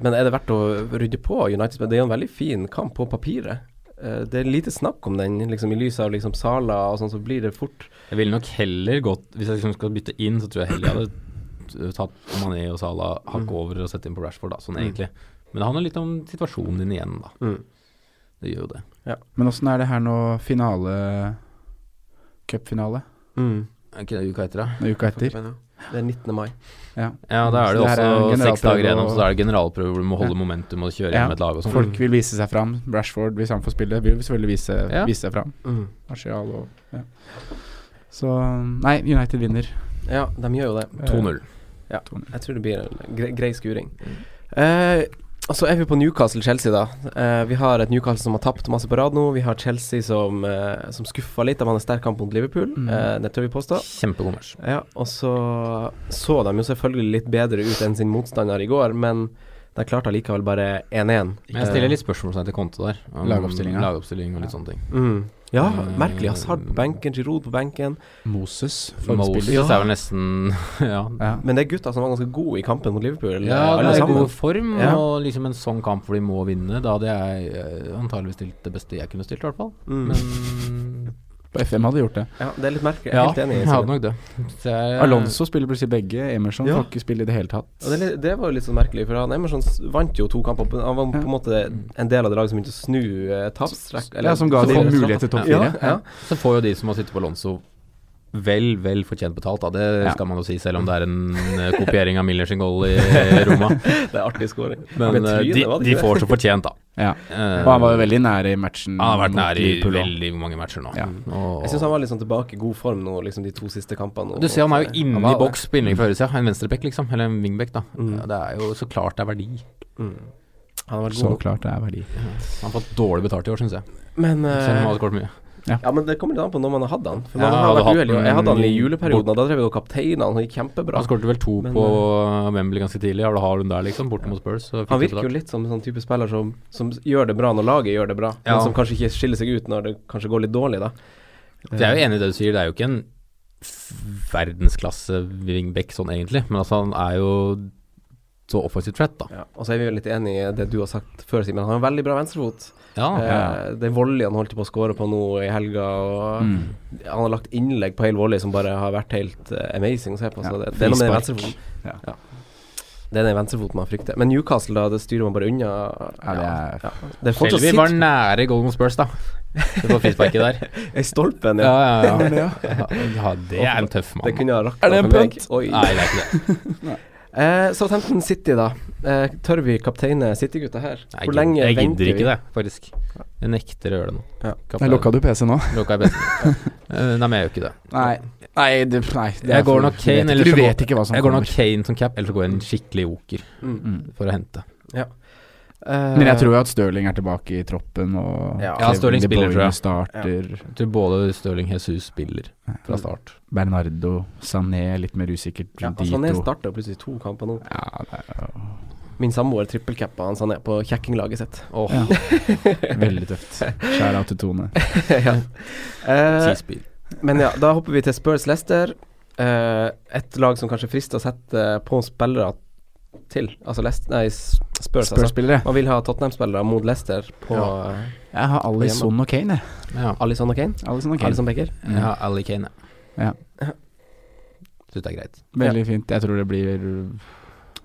Speaker 3: Men er det verdt å rydde på United? Det er jo en veldig fin kamp på papiret. Eh, det er lite snakk om den, liksom i lys av liksom Sala og sånn, så blir det fort
Speaker 4: Jeg ville nok heller gått Hvis jeg liksom skal bytte inn, så tror jeg heller jeg hadde tatt Mané og Salah hakket over og sett inn på Rashford, da, sånn egentlig. Men det handler litt om situasjonen din igjen, da.
Speaker 3: Mm.
Speaker 4: Det gjør jo det.
Speaker 2: Men åssen er det her nå finale Cupfinale
Speaker 4: Er ikke det uka etter, da?
Speaker 2: nå uka etter?
Speaker 3: Det er 19. mai.
Speaker 2: Ja.
Speaker 4: Ja, da er det jo
Speaker 2: Så det her er
Speaker 4: også
Speaker 2: en
Speaker 4: seks dager
Speaker 2: generalprøve
Speaker 4: igjennom,
Speaker 2: og-
Speaker 4: så da er det generalprøve hvor du må holde
Speaker 2: Ja.
Speaker 4: momentum og kjøre
Speaker 2: Ja.
Speaker 4: gjennom et lag og sånn.
Speaker 2: Folk vil vise seg fram. Rashford, hvis han får spille, vil selvfølgelig vise,
Speaker 4: Ja.
Speaker 2: vise seg fram. Martial og ja. Så Nei, United vinner.
Speaker 3: Ja, de gjør jo det. Eh,
Speaker 4: 2-0.
Speaker 3: Jeg tror det blir en grei, grei skuring. Eh, og så er vi på Newcastle-Chelsea, da. Eh, vi har et Newcastle som har tapt masse på rad nå. Vi har Chelsea som, eh, som skuffa litt. De hadde en sterk kamp mot Liverpool,
Speaker 2: Mm.
Speaker 3: eh, det tør vi påstå.
Speaker 4: Kjempegod match.
Speaker 3: Ja, og så så de jo selvfølgelig litt bedre ut enn sin motstander i går, men de klarte allikevel bare 1-1.
Speaker 4: Men jeg stiller litt spørsmålstegn til Konto der. om
Speaker 2: Lagoppstillingen.
Speaker 4: Lagoppstilling og litt sånne ting.
Speaker 3: mm. Ja,
Speaker 4: Eh,
Speaker 3: merkelig. Hazard på benken, Giroud på benken.
Speaker 2: Moses,
Speaker 4: Moses
Speaker 2: formspiller.
Speaker 3: Ja.
Speaker 4: er vel nesten Ja,
Speaker 2: Ja.
Speaker 3: Men det er gutta som var ganske gode i kampen mot Liverpool,
Speaker 4: Ja,
Speaker 3: eh,
Speaker 4: det
Speaker 3: alle
Speaker 4: er i
Speaker 3: sammen.
Speaker 4: god form,
Speaker 3: Ja.
Speaker 4: og liksom en sånn kamp hvor de må vinne. Da hadde jeg eh, antageligvis stilt det beste jeg kunne stilt, i hvert fall.
Speaker 3: Mm.
Speaker 4: Men
Speaker 2: På FM hadde gjort det.
Speaker 3: Ja, det er litt merkelig. Jeg er
Speaker 4: ja,
Speaker 3: helt enig.
Speaker 4: jeg
Speaker 3: i Simen.
Speaker 4: hadde nok det. Så jeg-
Speaker 2: Alonso spiller plutselig begge. Emerson
Speaker 3: Ja.
Speaker 2: får ikke spille i det hele tatt.
Speaker 3: Og det, er litt- det var jo litt sånn merkelig, for han Emerson s- vant jo to kamper. på- Han var på en måte en del av det laget som begynte å snu eh, tapstrekk.
Speaker 2: Ja, som ga
Speaker 3: så-
Speaker 2: de
Speaker 3: så-
Speaker 2: mulighet til topp
Speaker 3: Ja,
Speaker 2: fire.
Speaker 3: ja.
Speaker 4: Så får jo de som har sittet på Alonso vel, vel fortjent betalt, da. Det
Speaker 2: Ja.
Speaker 4: skal man jo si, selv om det er en eh, kopiering av Millers goal i eh, Roma.
Speaker 3: Det er artig scoring.
Speaker 4: Men eh, de, de får så fortjent, da.
Speaker 2: Ja.
Speaker 4: Eh,
Speaker 2: Og han var jo veldig nære i matchen.
Speaker 4: han har vært
Speaker 2: mot
Speaker 4: nær i
Speaker 2: Liverpool også.
Speaker 4: veldig mange matcher nå.
Speaker 2: Ja.
Speaker 4: Og,
Speaker 3: Jeg syns han var litt sånn tilbake i god form nå, liksom de to siste kampene. nå.
Speaker 4: Du ser han er jo
Speaker 3: Han
Speaker 4: inne
Speaker 3: var
Speaker 4: i
Speaker 3: det. Mm.
Speaker 4: boks på innlegg på høyresida. En venstreback, liksom. Eller en wingback, da. Ja, Det er jo så klart det er verdi.
Speaker 3: Han har vært
Speaker 2: Så
Speaker 3: god.
Speaker 2: klart det er verdi.
Speaker 4: Han har fått dårlig betalt i år, syns jeg.
Speaker 3: Men,
Speaker 4: Selv om han
Speaker 3: eh,
Speaker 4: hadde kort mye.
Speaker 3: ja, men det kommer litt an på når man har hatt han. For
Speaker 4: Ja,
Speaker 3: man har
Speaker 4: hadde
Speaker 3: vært
Speaker 4: hatt
Speaker 3: uheldig. og Jeg hadde han i
Speaker 4: den
Speaker 3: juleperioden, og da drev jeg og kapteina han. Han gikk kjempebra.
Speaker 4: Han skåret vel to
Speaker 3: Men, eh,
Speaker 4: på Wembley ganske tidlig. Ja, da har hun der, liksom, borte mot Spurs. så fikk
Speaker 3: Han
Speaker 4: de
Speaker 3: virker jo
Speaker 4: betalt.
Speaker 3: litt som en sånn type spiller som, som gjør det bra når laget gjør det bra,
Speaker 4: Ja.
Speaker 3: men som kanskje ikke skiller seg ut når det kanskje går litt dårlig, da.
Speaker 4: Jeg er jo enig i det du sier, det er jo ikke en f- verdensklasse wingback sånn egentlig, men altså han er jo så offensivt fett, da.
Speaker 3: Ja. Og så er vi jo litt enig i det du har sagt før, Simen. Han har en veldig bra venstrefot.
Speaker 4: Ja, Mm.
Speaker 3: Eh, den volleyen han holdt på å score på nå i helga, og
Speaker 2: Mm.
Speaker 3: han har lagt innlegg på hel volley som bare har vært helt eh, amazing å se på. Så
Speaker 2: Ja,
Speaker 3: det, det er noe med den
Speaker 2: frispark.
Speaker 3: venstrefoten.
Speaker 2: Ja.
Speaker 3: Ja. Det er den venstrefoten man frykter. Men Newcastle, da, det styrer man bare unna.
Speaker 2: Ja, det er-
Speaker 3: ja. Det er fortsatt
Speaker 4: Shelby var
Speaker 3: sitt
Speaker 4: nære Golden Spurs, da. Det var frisparket der.
Speaker 3: i stolpen,
Speaker 4: Ja,
Speaker 3: ja.
Speaker 4: ja, ja. ja det er en tøff
Speaker 3: Det
Speaker 4: mann.
Speaker 3: kunne ha rakna for meg. Oi.
Speaker 4: Nei, det er ikke det.
Speaker 3: Eh, Southampton City, da. Eh, tør vi kapteine City-gutta her?
Speaker 4: Nei, Jeg gidder- jeg gidder ikke det, faktisk. Jeg nekter å gjøre det nå.
Speaker 3: Ja.
Speaker 4: Kaptein.
Speaker 2: Nei, lukka du PC nå?
Speaker 4: Lukka jeg besen. Eh, Nei, men jeg gjør ikke det.
Speaker 2: Nei. Nei, det, nei det er
Speaker 4: Jeg går
Speaker 2: for-
Speaker 4: nok
Speaker 2: du
Speaker 4: Kane,
Speaker 2: vet
Speaker 4: eller
Speaker 2: ikke-
Speaker 4: så
Speaker 2: Du
Speaker 4: går-
Speaker 2: vet ikke
Speaker 3: Sånn
Speaker 2: hva som
Speaker 4: Jeg går
Speaker 2: kommer.
Speaker 4: nok Kane som cap, eller så går jeg en skikkelig joker
Speaker 3: Mm.
Speaker 4: for å hente.
Speaker 3: Eh,
Speaker 2: Men jeg tror jo at Stirling er tilbake i troppen, og
Speaker 3: Ja.
Speaker 4: Ja, Stirling
Speaker 2: De
Speaker 4: spiller,
Speaker 2: Bruyne
Speaker 4: tror jeg.
Speaker 2: starter.
Speaker 4: Jeg tror både Stirling Jesus spiller fra start.
Speaker 2: Bernardo, Sané, litt mer usikkert.
Speaker 3: ja,
Speaker 2: de
Speaker 3: Sané
Speaker 2: to.
Speaker 3: starter plutselig to kamper nå.
Speaker 2: Ja, det er jo
Speaker 3: Min samboer trippelcappa han Sané på kjekkinglaget sitt.
Speaker 4: Åh,
Speaker 2: Ja. veldig tøft. Skjær av til Tone.
Speaker 3: ja. Eh,
Speaker 4: ti spill.
Speaker 3: men ja, da hopper vi til Spurs Leicester. Eh, et lag som kanskje frister å sette på spillere til. Altså Leicester Nei, S- Spurs, altså.
Speaker 2: Spurs-spillere.
Speaker 3: Man vil ha Tottenham-spillere mot Leicester på ja.
Speaker 2: Jeg har Alison og Kane, jeg.
Speaker 4: Ja.
Speaker 3: Alison og Kane.
Speaker 2: Alisson og Kane.
Speaker 3: Alison Becker.
Speaker 4: Jeg har Ali Kane,
Speaker 2: Ja.
Speaker 4: Syns det er greit.
Speaker 2: Veldig fint. Jeg tror det blir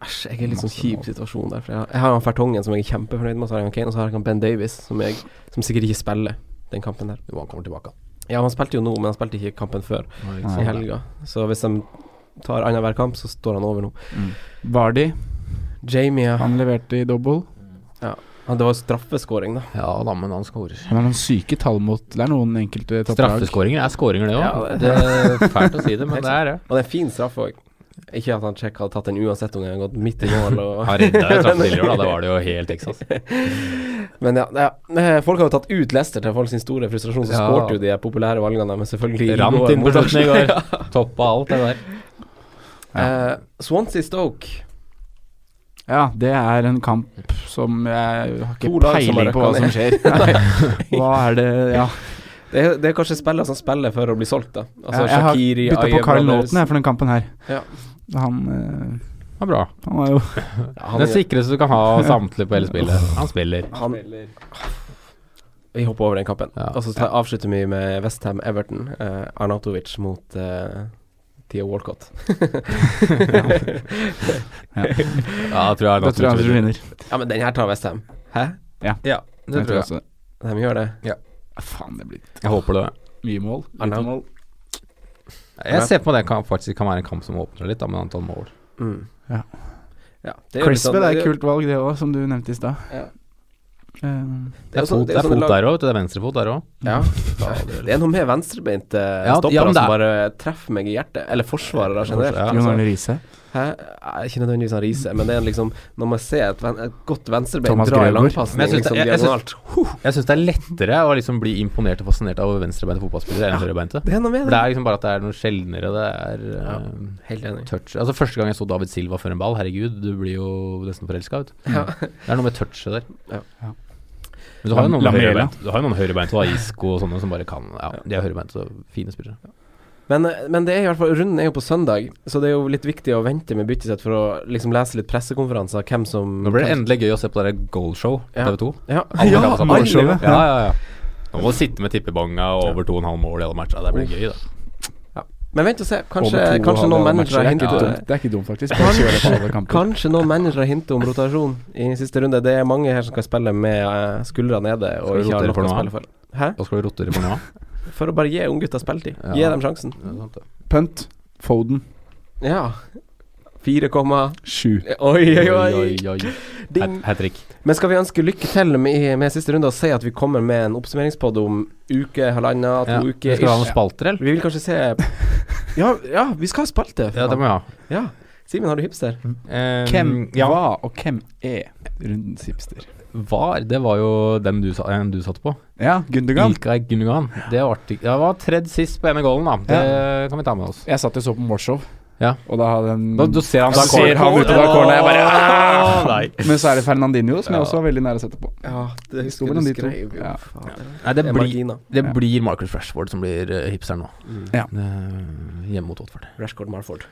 Speaker 3: Æsj, jeg er i litt sånn
Speaker 2: Masse
Speaker 3: kjip
Speaker 2: mål.
Speaker 3: situasjon der. For jeg har, jeg har han Fertongen, som jeg er kjempefornøyd med, og så har jeg han Kane, og så har jeg han Ben Davies, som, jeg, som sikkert ikke spiller den kampen der.
Speaker 4: Jo, han kommer tilbake.
Speaker 3: Ja, han spilte jo nå, men han spilte ikke kampen før,
Speaker 4: Nei.
Speaker 3: i helga. Så hvis de tar annenhver kamp, så står han over nå.
Speaker 2: Vardi.
Speaker 3: Jamie, ja.
Speaker 2: Han leverte i double.
Speaker 3: Han- det var straffeskåring, da.
Speaker 4: Ja da, men han skårer.
Speaker 2: Han har noen syke tall mot Det er noen enkelte topplag.
Speaker 4: Straffeskåringer er skåringer, det òg.
Speaker 3: Ja, det-
Speaker 4: det er fælt å si det, men det er det.
Speaker 3: Og det er fin straff òg. Ikke at han Check hadde tatt den uansett om den hadde gått midt i mål. Og
Speaker 4: Han redda jo straffen tidligere, da. Da var det jo helt Texas.
Speaker 3: Men ja, ja, eh, folk har jo tatt ut Leicester til folk sin store frustrasjon, så
Speaker 4: Ja.
Speaker 3: skårte jo de populære valgene, men selvfølgelig i
Speaker 4: Rant
Speaker 3: går
Speaker 4: inn på
Speaker 3: mot
Speaker 4: slutten i
Speaker 3: Arsenal.
Speaker 4: går. Toppa alt det der.
Speaker 3: Eh, Swansea Stoke.
Speaker 2: Ja, det er en kamp som jeg har
Speaker 3: To
Speaker 2: ikke
Speaker 3: lag som
Speaker 2: peiling
Speaker 3: har røkka
Speaker 2: på hva som skjer. Nei. Hva er det Ja.
Speaker 3: Det er, det er kanskje spillere som spiller for å bli solgt, da. Altså
Speaker 2: Jeg- jeg har
Speaker 3: Shaqiri,
Speaker 2: bytta på
Speaker 3: Ayew
Speaker 2: Carl
Speaker 3: Brothers.
Speaker 2: Naughton jeg, for den kampen her.
Speaker 3: Ja.
Speaker 2: Han, eh,
Speaker 4: Ja, bra.
Speaker 2: han var jo
Speaker 3: Ja, han,
Speaker 4: Den sikreste du kan ha samtlige på hele spillet. Han spiller.
Speaker 3: han, vi hopper over den kampen.
Speaker 4: Ja.
Speaker 3: Og så tar- avslutter vi med Westham Everton. Eh, Arnautovic mot eh, Theo Walcott.
Speaker 4: Ja, jeg tror jeg
Speaker 2: Da tror jeg han
Speaker 4: spiller.
Speaker 2: vinner.
Speaker 3: Ja, men den her tar Westham. Hæ?
Speaker 4: Ja, det
Speaker 2: Jeg
Speaker 4: tror
Speaker 2: tror
Speaker 4: jeg.
Speaker 2: også det.
Speaker 3: De gjør det.
Speaker 2: Ja, Faen, det blir
Speaker 4: Jeg håper det.
Speaker 2: mye mål.
Speaker 3: Arnau-
Speaker 2: Lite mål.
Speaker 4: Jeg ser på det kan, faktisk kan være en kamp som åpner litt, da, med antall mål.
Speaker 3: Mm.
Speaker 2: Ja.
Speaker 3: Ja, det er jo litt
Speaker 2: Crispy det
Speaker 3: sånn-
Speaker 2: er et kult valg, det òg, som du nevnte i stad.
Speaker 3: Ja.
Speaker 2: Eh,
Speaker 4: Det er
Speaker 3: sånn-
Speaker 4: fot, Altså, det er
Speaker 3: sånn
Speaker 4: fot
Speaker 3: lag-
Speaker 4: der òg, vet du. Det er venstrefot der òg.
Speaker 3: Ja. Det er noe med venstrebeinte
Speaker 4: Ja,
Speaker 3: stoppere
Speaker 4: ja, men det
Speaker 3: som
Speaker 4: er-
Speaker 3: bare treffer meg i hjertet. Eller forsvarere generelt.
Speaker 4: Ja,
Speaker 2: Jon
Speaker 3: altså.
Speaker 2: Arne Riise.
Speaker 3: Hæ? Eh, Ikke nødvendigvis han Riise, men det er liksom når man ser et, ven, et godt venstrebein
Speaker 2: Thomas
Speaker 3: dra i
Speaker 2: Grøgaard.
Speaker 4: Men jeg
Speaker 3: langpasning
Speaker 4: synes det-
Speaker 3: liksom
Speaker 4: jeg- jeg synes-
Speaker 3: diagonalt
Speaker 4: Jeg syns det er lettere å liksom bli imponert og fascinert av venstrebeinte fotballspillere enn høyrebeinte.
Speaker 3: Det er noe med
Speaker 4: For
Speaker 3: det.
Speaker 4: det er liksom bare at det er noe sjeldnere, det er eh,
Speaker 3: Helt enig.
Speaker 4: touch Altså Første gang jeg så David Silva før en ball, herregud, du blir jo nesten forelska, vet du. Det er noe med touchet der.
Speaker 3: Ja.
Speaker 2: Ja.
Speaker 4: Men du har jo noen
Speaker 2: Lam- Lamela.
Speaker 4: høyrebeint, du har jo noen høyrebeinte og Isco og sånne som bare kan Ja, de er høyrebeinte og fine spillere.
Speaker 3: Men, eh, men det er i hvert fall runden er jo på søndag, så det er jo litt viktig å vente med byttet sitt for å liksom lese litt pressekonferanser, hvem som
Speaker 4: Nå blir det endelig gøy å se på det der goalshow
Speaker 3: Ja.
Speaker 4: på TV 2.
Speaker 3: Ja,
Speaker 4: Alle
Speaker 3: ja,
Speaker 4: kan ha samme
Speaker 3: alle.
Speaker 4: goalshow. Ja, ja, ja. Nå må du sitte med tippebonga og over 2,5 mål i alle matcha. Det blir gøy, da.
Speaker 3: Men vent og se. Kanskje,
Speaker 2: Over to
Speaker 3: kanskje
Speaker 2: halve
Speaker 3: noen
Speaker 2: matcher.
Speaker 3: managere
Speaker 2: Det er ikke
Speaker 3: hinter
Speaker 2: dumt- Det er ikke dumt, faktisk. Bare kjøre på alle kamper.
Speaker 3: Kanskje noen managere hinter om rotasjon i siste runde. Det er mange her som skal spille med eh, skuldra nede
Speaker 4: Skal
Speaker 3: og
Speaker 4: vi
Speaker 3: ikke har
Speaker 4: rotere
Speaker 3: nok
Speaker 4: for
Speaker 3: å
Speaker 4: noe
Speaker 3: spille for. Hæ?
Speaker 4: Da skal du rotere på noe.
Speaker 3: For å bare gi unggutta spilletid.
Speaker 4: Ja.
Speaker 3: Gi dem sjansen.
Speaker 2: Punt. Foden.
Speaker 3: Ja. 4, komma-
Speaker 2: Sju.
Speaker 3: oi, oi, oi. Ding.
Speaker 4: Hat trick.
Speaker 3: Men skal vi ønske lykke til med, med siste runde og si at vi kommer med en oppsummeringspod om uke, halvannen, to
Speaker 4: Ja.
Speaker 3: uker
Speaker 4: Skal vi ha noen
Speaker 3: ish.
Speaker 4: spalter, eller?
Speaker 3: Vi vil kanskje se Ja, ja vi skal ha spalte.
Speaker 4: Ja, det må vi ha.
Speaker 3: Ja. Simen, har du hipster?
Speaker 4: Eh,
Speaker 2: Hvem
Speaker 4: ja,
Speaker 2: var og hvem er rundens hipster?
Speaker 4: var, det var jo den du, sa- en du satt på.
Speaker 2: Ja, Gundergan.
Speaker 4: Ilkay Gundogan. Det var artig. Det var tredd sist på ene goalen, da. Det kan vi ta med oss.
Speaker 2: Jeg satt og så på Morshow,
Speaker 4: Ja.
Speaker 2: og da hadde en
Speaker 4: Da, du ser han, da
Speaker 2: Så ser han ut av det corneret, jeg bare,
Speaker 4: Åh, nei.
Speaker 2: Men så er det Fernandinho, som jeg også var veldig nær å sette på.
Speaker 3: Ja, det
Speaker 2: Sto mellom de to. Ja.
Speaker 4: Nei, det,
Speaker 3: Det er
Speaker 4: blir,
Speaker 3: marginer.
Speaker 4: det
Speaker 2: Ja.
Speaker 4: blir Marcus Rashford som blir eh, hipster nå.
Speaker 2: Ja.
Speaker 4: Eh, hjemme mot Watford.
Speaker 3: Rashford Marford.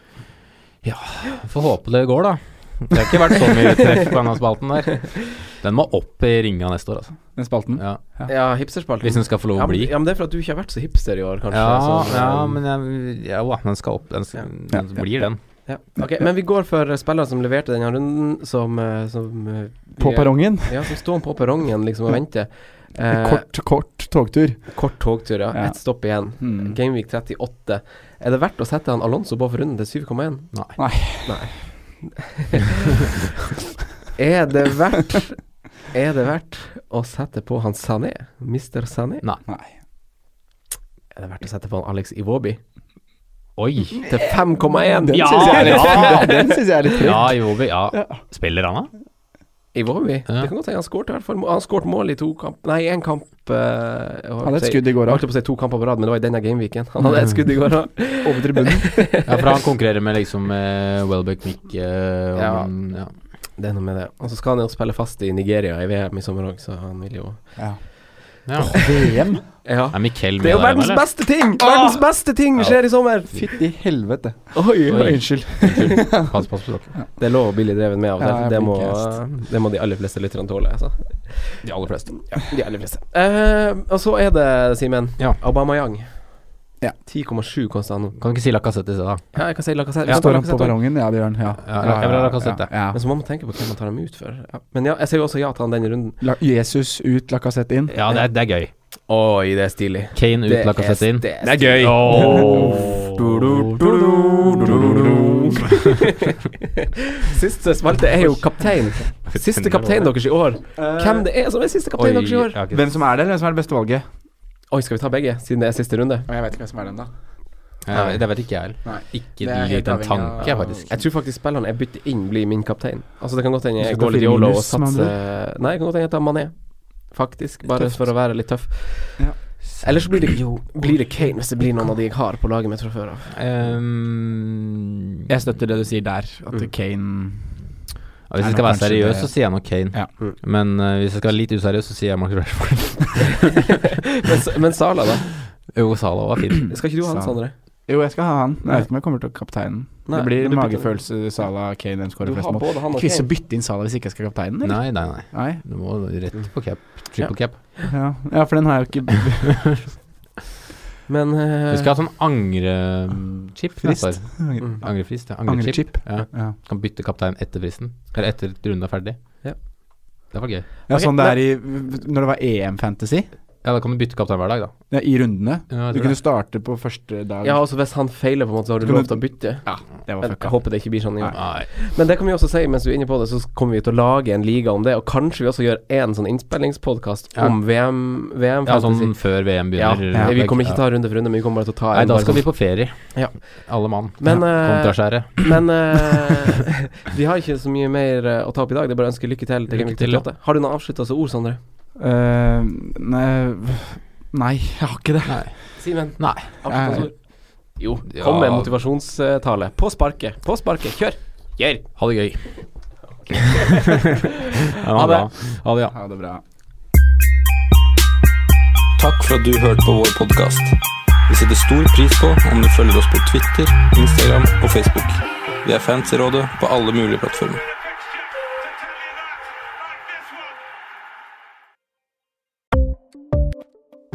Speaker 4: Får håpe det går, da. Det har ikke vært så mye treff på denne spalten der. Den må opp i ringa neste år, altså.
Speaker 2: Den spalten.
Speaker 4: Ja.
Speaker 3: Ja, hipsterspalten.
Speaker 4: Hvis den skal få lov
Speaker 3: ja,
Speaker 4: å
Speaker 3: men,
Speaker 4: bli.
Speaker 3: ja, men det er for at du ikke har vært så hipster i år, kanskje.
Speaker 4: Ja,
Speaker 3: så-
Speaker 4: ja, men jeg, ja, wow, den skal opp. Den, skal,
Speaker 2: Ja.
Speaker 4: den blir den.
Speaker 3: Ja. Ok, men vi går for eh, spillere som leverte denne runden, som, eh, som eh, vi-
Speaker 2: På perrongen.
Speaker 3: Ja, som står på perrongen liksom og venter. Eh,
Speaker 2: Kort, kort togtur.
Speaker 3: kort togtur, ja.
Speaker 2: Ja.
Speaker 3: Ett stopp igjen.
Speaker 2: Mm.
Speaker 3: Gameweek 38. Er det verdt å sette han Alonso på for runden til 7,1?
Speaker 4: Nei.
Speaker 2: Nei.
Speaker 3: Er det verdt Er det verdt å sette på han Sané? Mr. Sané?
Speaker 2: Nei.
Speaker 3: Er det verdt å sette på han Alex Iwobi?
Speaker 4: Oi!
Speaker 3: Til 5,1!
Speaker 2: Den
Speaker 4: Ja,
Speaker 2: syns jeg er litt,
Speaker 4: ja.
Speaker 2: den synes jeg er litt høy.
Speaker 4: Ja, Iwobi. Ja. Spiller han, da?
Speaker 3: Iwobi?
Speaker 4: Ja.
Speaker 3: Det kan godt hende han skårte, i hvert fall. Han skårte mål i to kamp Nei, én kamp Han
Speaker 2: Hadde et skudd i går
Speaker 3: Jeg
Speaker 2: òg.
Speaker 3: holdt på å si to kamper på rad, men det var i denne gameweeken. Han hadde et skudd i går òg.
Speaker 2: Over tribunen.
Speaker 4: Ja, for han konkurrerer med liksom eh, Welbeck Mick eh, og,
Speaker 3: Ja.
Speaker 4: ja.
Speaker 3: Det er noe med det. Og så skal han jo spille fast i Nigeria i VM i sommer òg, så han vil jo
Speaker 2: Ja.
Speaker 4: Ja.
Speaker 2: VM?
Speaker 3: Ja.
Speaker 4: Er Mikkel med
Speaker 3: Det er jo
Speaker 4: der,
Speaker 3: verdens
Speaker 4: eller?
Speaker 3: beste ting! Verdens beste ting skjer i sommer!
Speaker 2: Fytti helvete.
Speaker 3: Oi,
Speaker 4: Oi.
Speaker 2: Unnskyld.
Speaker 4: Pass, pass på dere.
Speaker 3: Det er lov å bli litt drevet med av og
Speaker 2: Ja,
Speaker 3: til.
Speaker 2: jeg
Speaker 3: det,
Speaker 2: blir
Speaker 3: må,
Speaker 2: gassed.
Speaker 3: det må de aller fleste lytterne tåle. Altså.
Speaker 4: De aller fleste.
Speaker 3: De aller fleste. Eh, og så er det, Simen,
Speaker 4: Ja.
Speaker 3: Aubameyang.
Speaker 2: Ja.
Speaker 3: 10,7 koster han nå.
Speaker 4: Kan du ikke si Lacassette i stedet, da?
Speaker 3: Ja, jeg kan si Lacassette.
Speaker 2: Ja,
Speaker 3: Ja,
Speaker 2: Står han på
Speaker 3: Lacazette også.
Speaker 2: perrongen? Ja, det gjør han. Ja.
Speaker 4: Ja, jeg vil ha Lacazette.
Speaker 2: Ja.
Speaker 3: Men så må man tenke på hvem man tar ham ut for. Ja. Men ja, jeg sier jo også ja til han denne runden.
Speaker 2: La Jesus ut, Lacassette inn.
Speaker 4: Ja, det er, det er gøy.
Speaker 3: Oi, det er stilig.
Speaker 4: Kane ut,
Speaker 3: Det er-
Speaker 4: Lacassette inn.
Speaker 3: det er
Speaker 4: gøy!
Speaker 3: Siste spalte er jo kaptein. Siste kaptein deres i år. Hvem det er som er siste kaptein deres i år?
Speaker 4: ja, ok.
Speaker 2: Hvem som er det, eller hvem som er det beste valget?
Speaker 3: Oi, skal vi ta begge, siden det er siste runde?
Speaker 2: Jeg vet ikke hvem som er den, da.
Speaker 4: Ja, det vet ikke jeg heller.
Speaker 2: Nei.
Speaker 4: Ikke
Speaker 2: Det er helt
Speaker 4: litt en
Speaker 2: avhengig av-
Speaker 4: tanke, faktisk.
Speaker 3: Jeg tror faktisk spilleren jeg bytter inn, blir min kaptein. Altså Det kan godt hende
Speaker 2: Du
Speaker 3: jeg
Speaker 2: skal ta
Speaker 3: går litt
Speaker 2: fire
Speaker 3: yolo og
Speaker 2: minus, med andre
Speaker 3: satser Nei, det kan godt hende jeg tar Mané, faktisk. Bare
Speaker 2: tøft.
Speaker 3: for å være litt tøff.
Speaker 2: Ja.
Speaker 3: Ellers blir det, blir det Kane, hvis det blir noen av de jeg har på laget mitt fra før av.
Speaker 4: Ehm,
Speaker 2: Jeg støtter det du sier der, at Kane
Speaker 4: ja, hvis
Speaker 2: Nei,
Speaker 4: jeg skal
Speaker 2: nå
Speaker 4: være
Speaker 2: kanskje
Speaker 4: seriøs,
Speaker 2: det-
Speaker 4: så sier jeg nok Kane.
Speaker 2: Ja.
Speaker 4: Men eh, hvis jeg skal være litt useriøs, så sier jeg Mark Rashford.
Speaker 3: Men, S- men Sala, da?
Speaker 4: jo, Salah var fin.
Speaker 3: Skal ikke du ha han,
Speaker 2: Sala.
Speaker 3: Sondre?
Speaker 2: Jo, jeg skal ha han. Jeg vet ikke om jeg kommer til kapteinen.
Speaker 3: Nei,
Speaker 2: det blir
Speaker 3: du bytter-
Speaker 2: magefølelse, Sala, Kane, hvem
Speaker 3: Du
Speaker 2: skårer flest
Speaker 3: har
Speaker 2: mål.
Speaker 3: både han og
Speaker 2: Ikke vits
Speaker 3: Kane.
Speaker 2: å bytte inn Sala hvis ikke jeg skal kapteinen, eller?
Speaker 4: Nei, nei, nei.
Speaker 2: Nei.
Speaker 4: Du må rett på cap. Triple cap.
Speaker 2: Ja. ja, for den har jeg jo ikke
Speaker 3: Men eh,
Speaker 4: Vi skal ha sånn angrechip.
Speaker 2: Frist.
Speaker 4: neste år. Angrefrist,
Speaker 3: Mm,
Speaker 4: ja. Angrechip.
Speaker 2: Angrechip.
Speaker 4: Ja.
Speaker 2: Ja.
Speaker 4: Kan bytte kaptein etter fristen. Eller etter runden er ferdig.
Speaker 3: Ja.
Speaker 4: Det var gøy.
Speaker 2: Ja,
Speaker 3: Ok,
Speaker 2: sånn det er i Når det var EM-fantasy,
Speaker 4: Ja, da kan du bytte kaptein hver dag, da.
Speaker 2: ja, i rundene
Speaker 4: Ja, jeg
Speaker 2: Du
Speaker 4: tror
Speaker 2: kunne
Speaker 4: det.
Speaker 2: starte på første dag.
Speaker 3: Ja, altså hvis han feiler, på en måte, så har du
Speaker 2: Kan
Speaker 3: lov
Speaker 2: du-
Speaker 3: til å bytte.
Speaker 2: det var
Speaker 3: Men jeg
Speaker 2: fucka.
Speaker 3: håper det ikke blir sånn. igjen.
Speaker 4: Nei.
Speaker 3: Men det kan vi også si mens du er inne på det, så kommer vi til å lage en liga om det. Og kanskje vi også gjør en sånn innspillingspodkast
Speaker 4: Ja.
Speaker 3: om VM, VM
Speaker 4: Ja,
Speaker 3: Fantasy.
Speaker 4: sånn før VM
Speaker 3: Ja,
Speaker 4: begynner.
Speaker 2: Ja.
Speaker 3: vi kommer ikke til å ta runde for runde, men vi kommer bare til å ta
Speaker 4: Nei,
Speaker 3: en
Speaker 4: da
Speaker 3: bare
Speaker 4: skal vi
Speaker 3: sånn.
Speaker 4: på ferie.
Speaker 3: Ja.
Speaker 4: Alle mann.
Speaker 3: Men, eh,
Speaker 4: Kontraskjæret.
Speaker 3: Men eh, vi har ikke så mye mer eh, å ta opp i dag. Det er bare å ønske lykke til. til
Speaker 4: Lykke
Speaker 3: Gameweek
Speaker 4: til, ja.
Speaker 3: 38. Har du noen avsluttende ord, Sondre?
Speaker 2: Eh, nei, nei, jeg har ikke det.
Speaker 3: Simen?
Speaker 4: Nei.
Speaker 3: Avsluttende ord? Jo,
Speaker 4: Ja.
Speaker 3: kom med motivasjonstale. På sparket. På sparket. Kjør! Kjør!
Speaker 4: Ha det gøy. ja,
Speaker 3: Ha det.
Speaker 4: bra. Ha det, ja.
Speaker 2: Ha det bra.
Speaker 5: Takk for at du hørte på vår podkast. Vi setter stor pris på om du følger oss på Twitter, Instagram og Facebook. Vi er fans i rådet på alle mulige plattformer.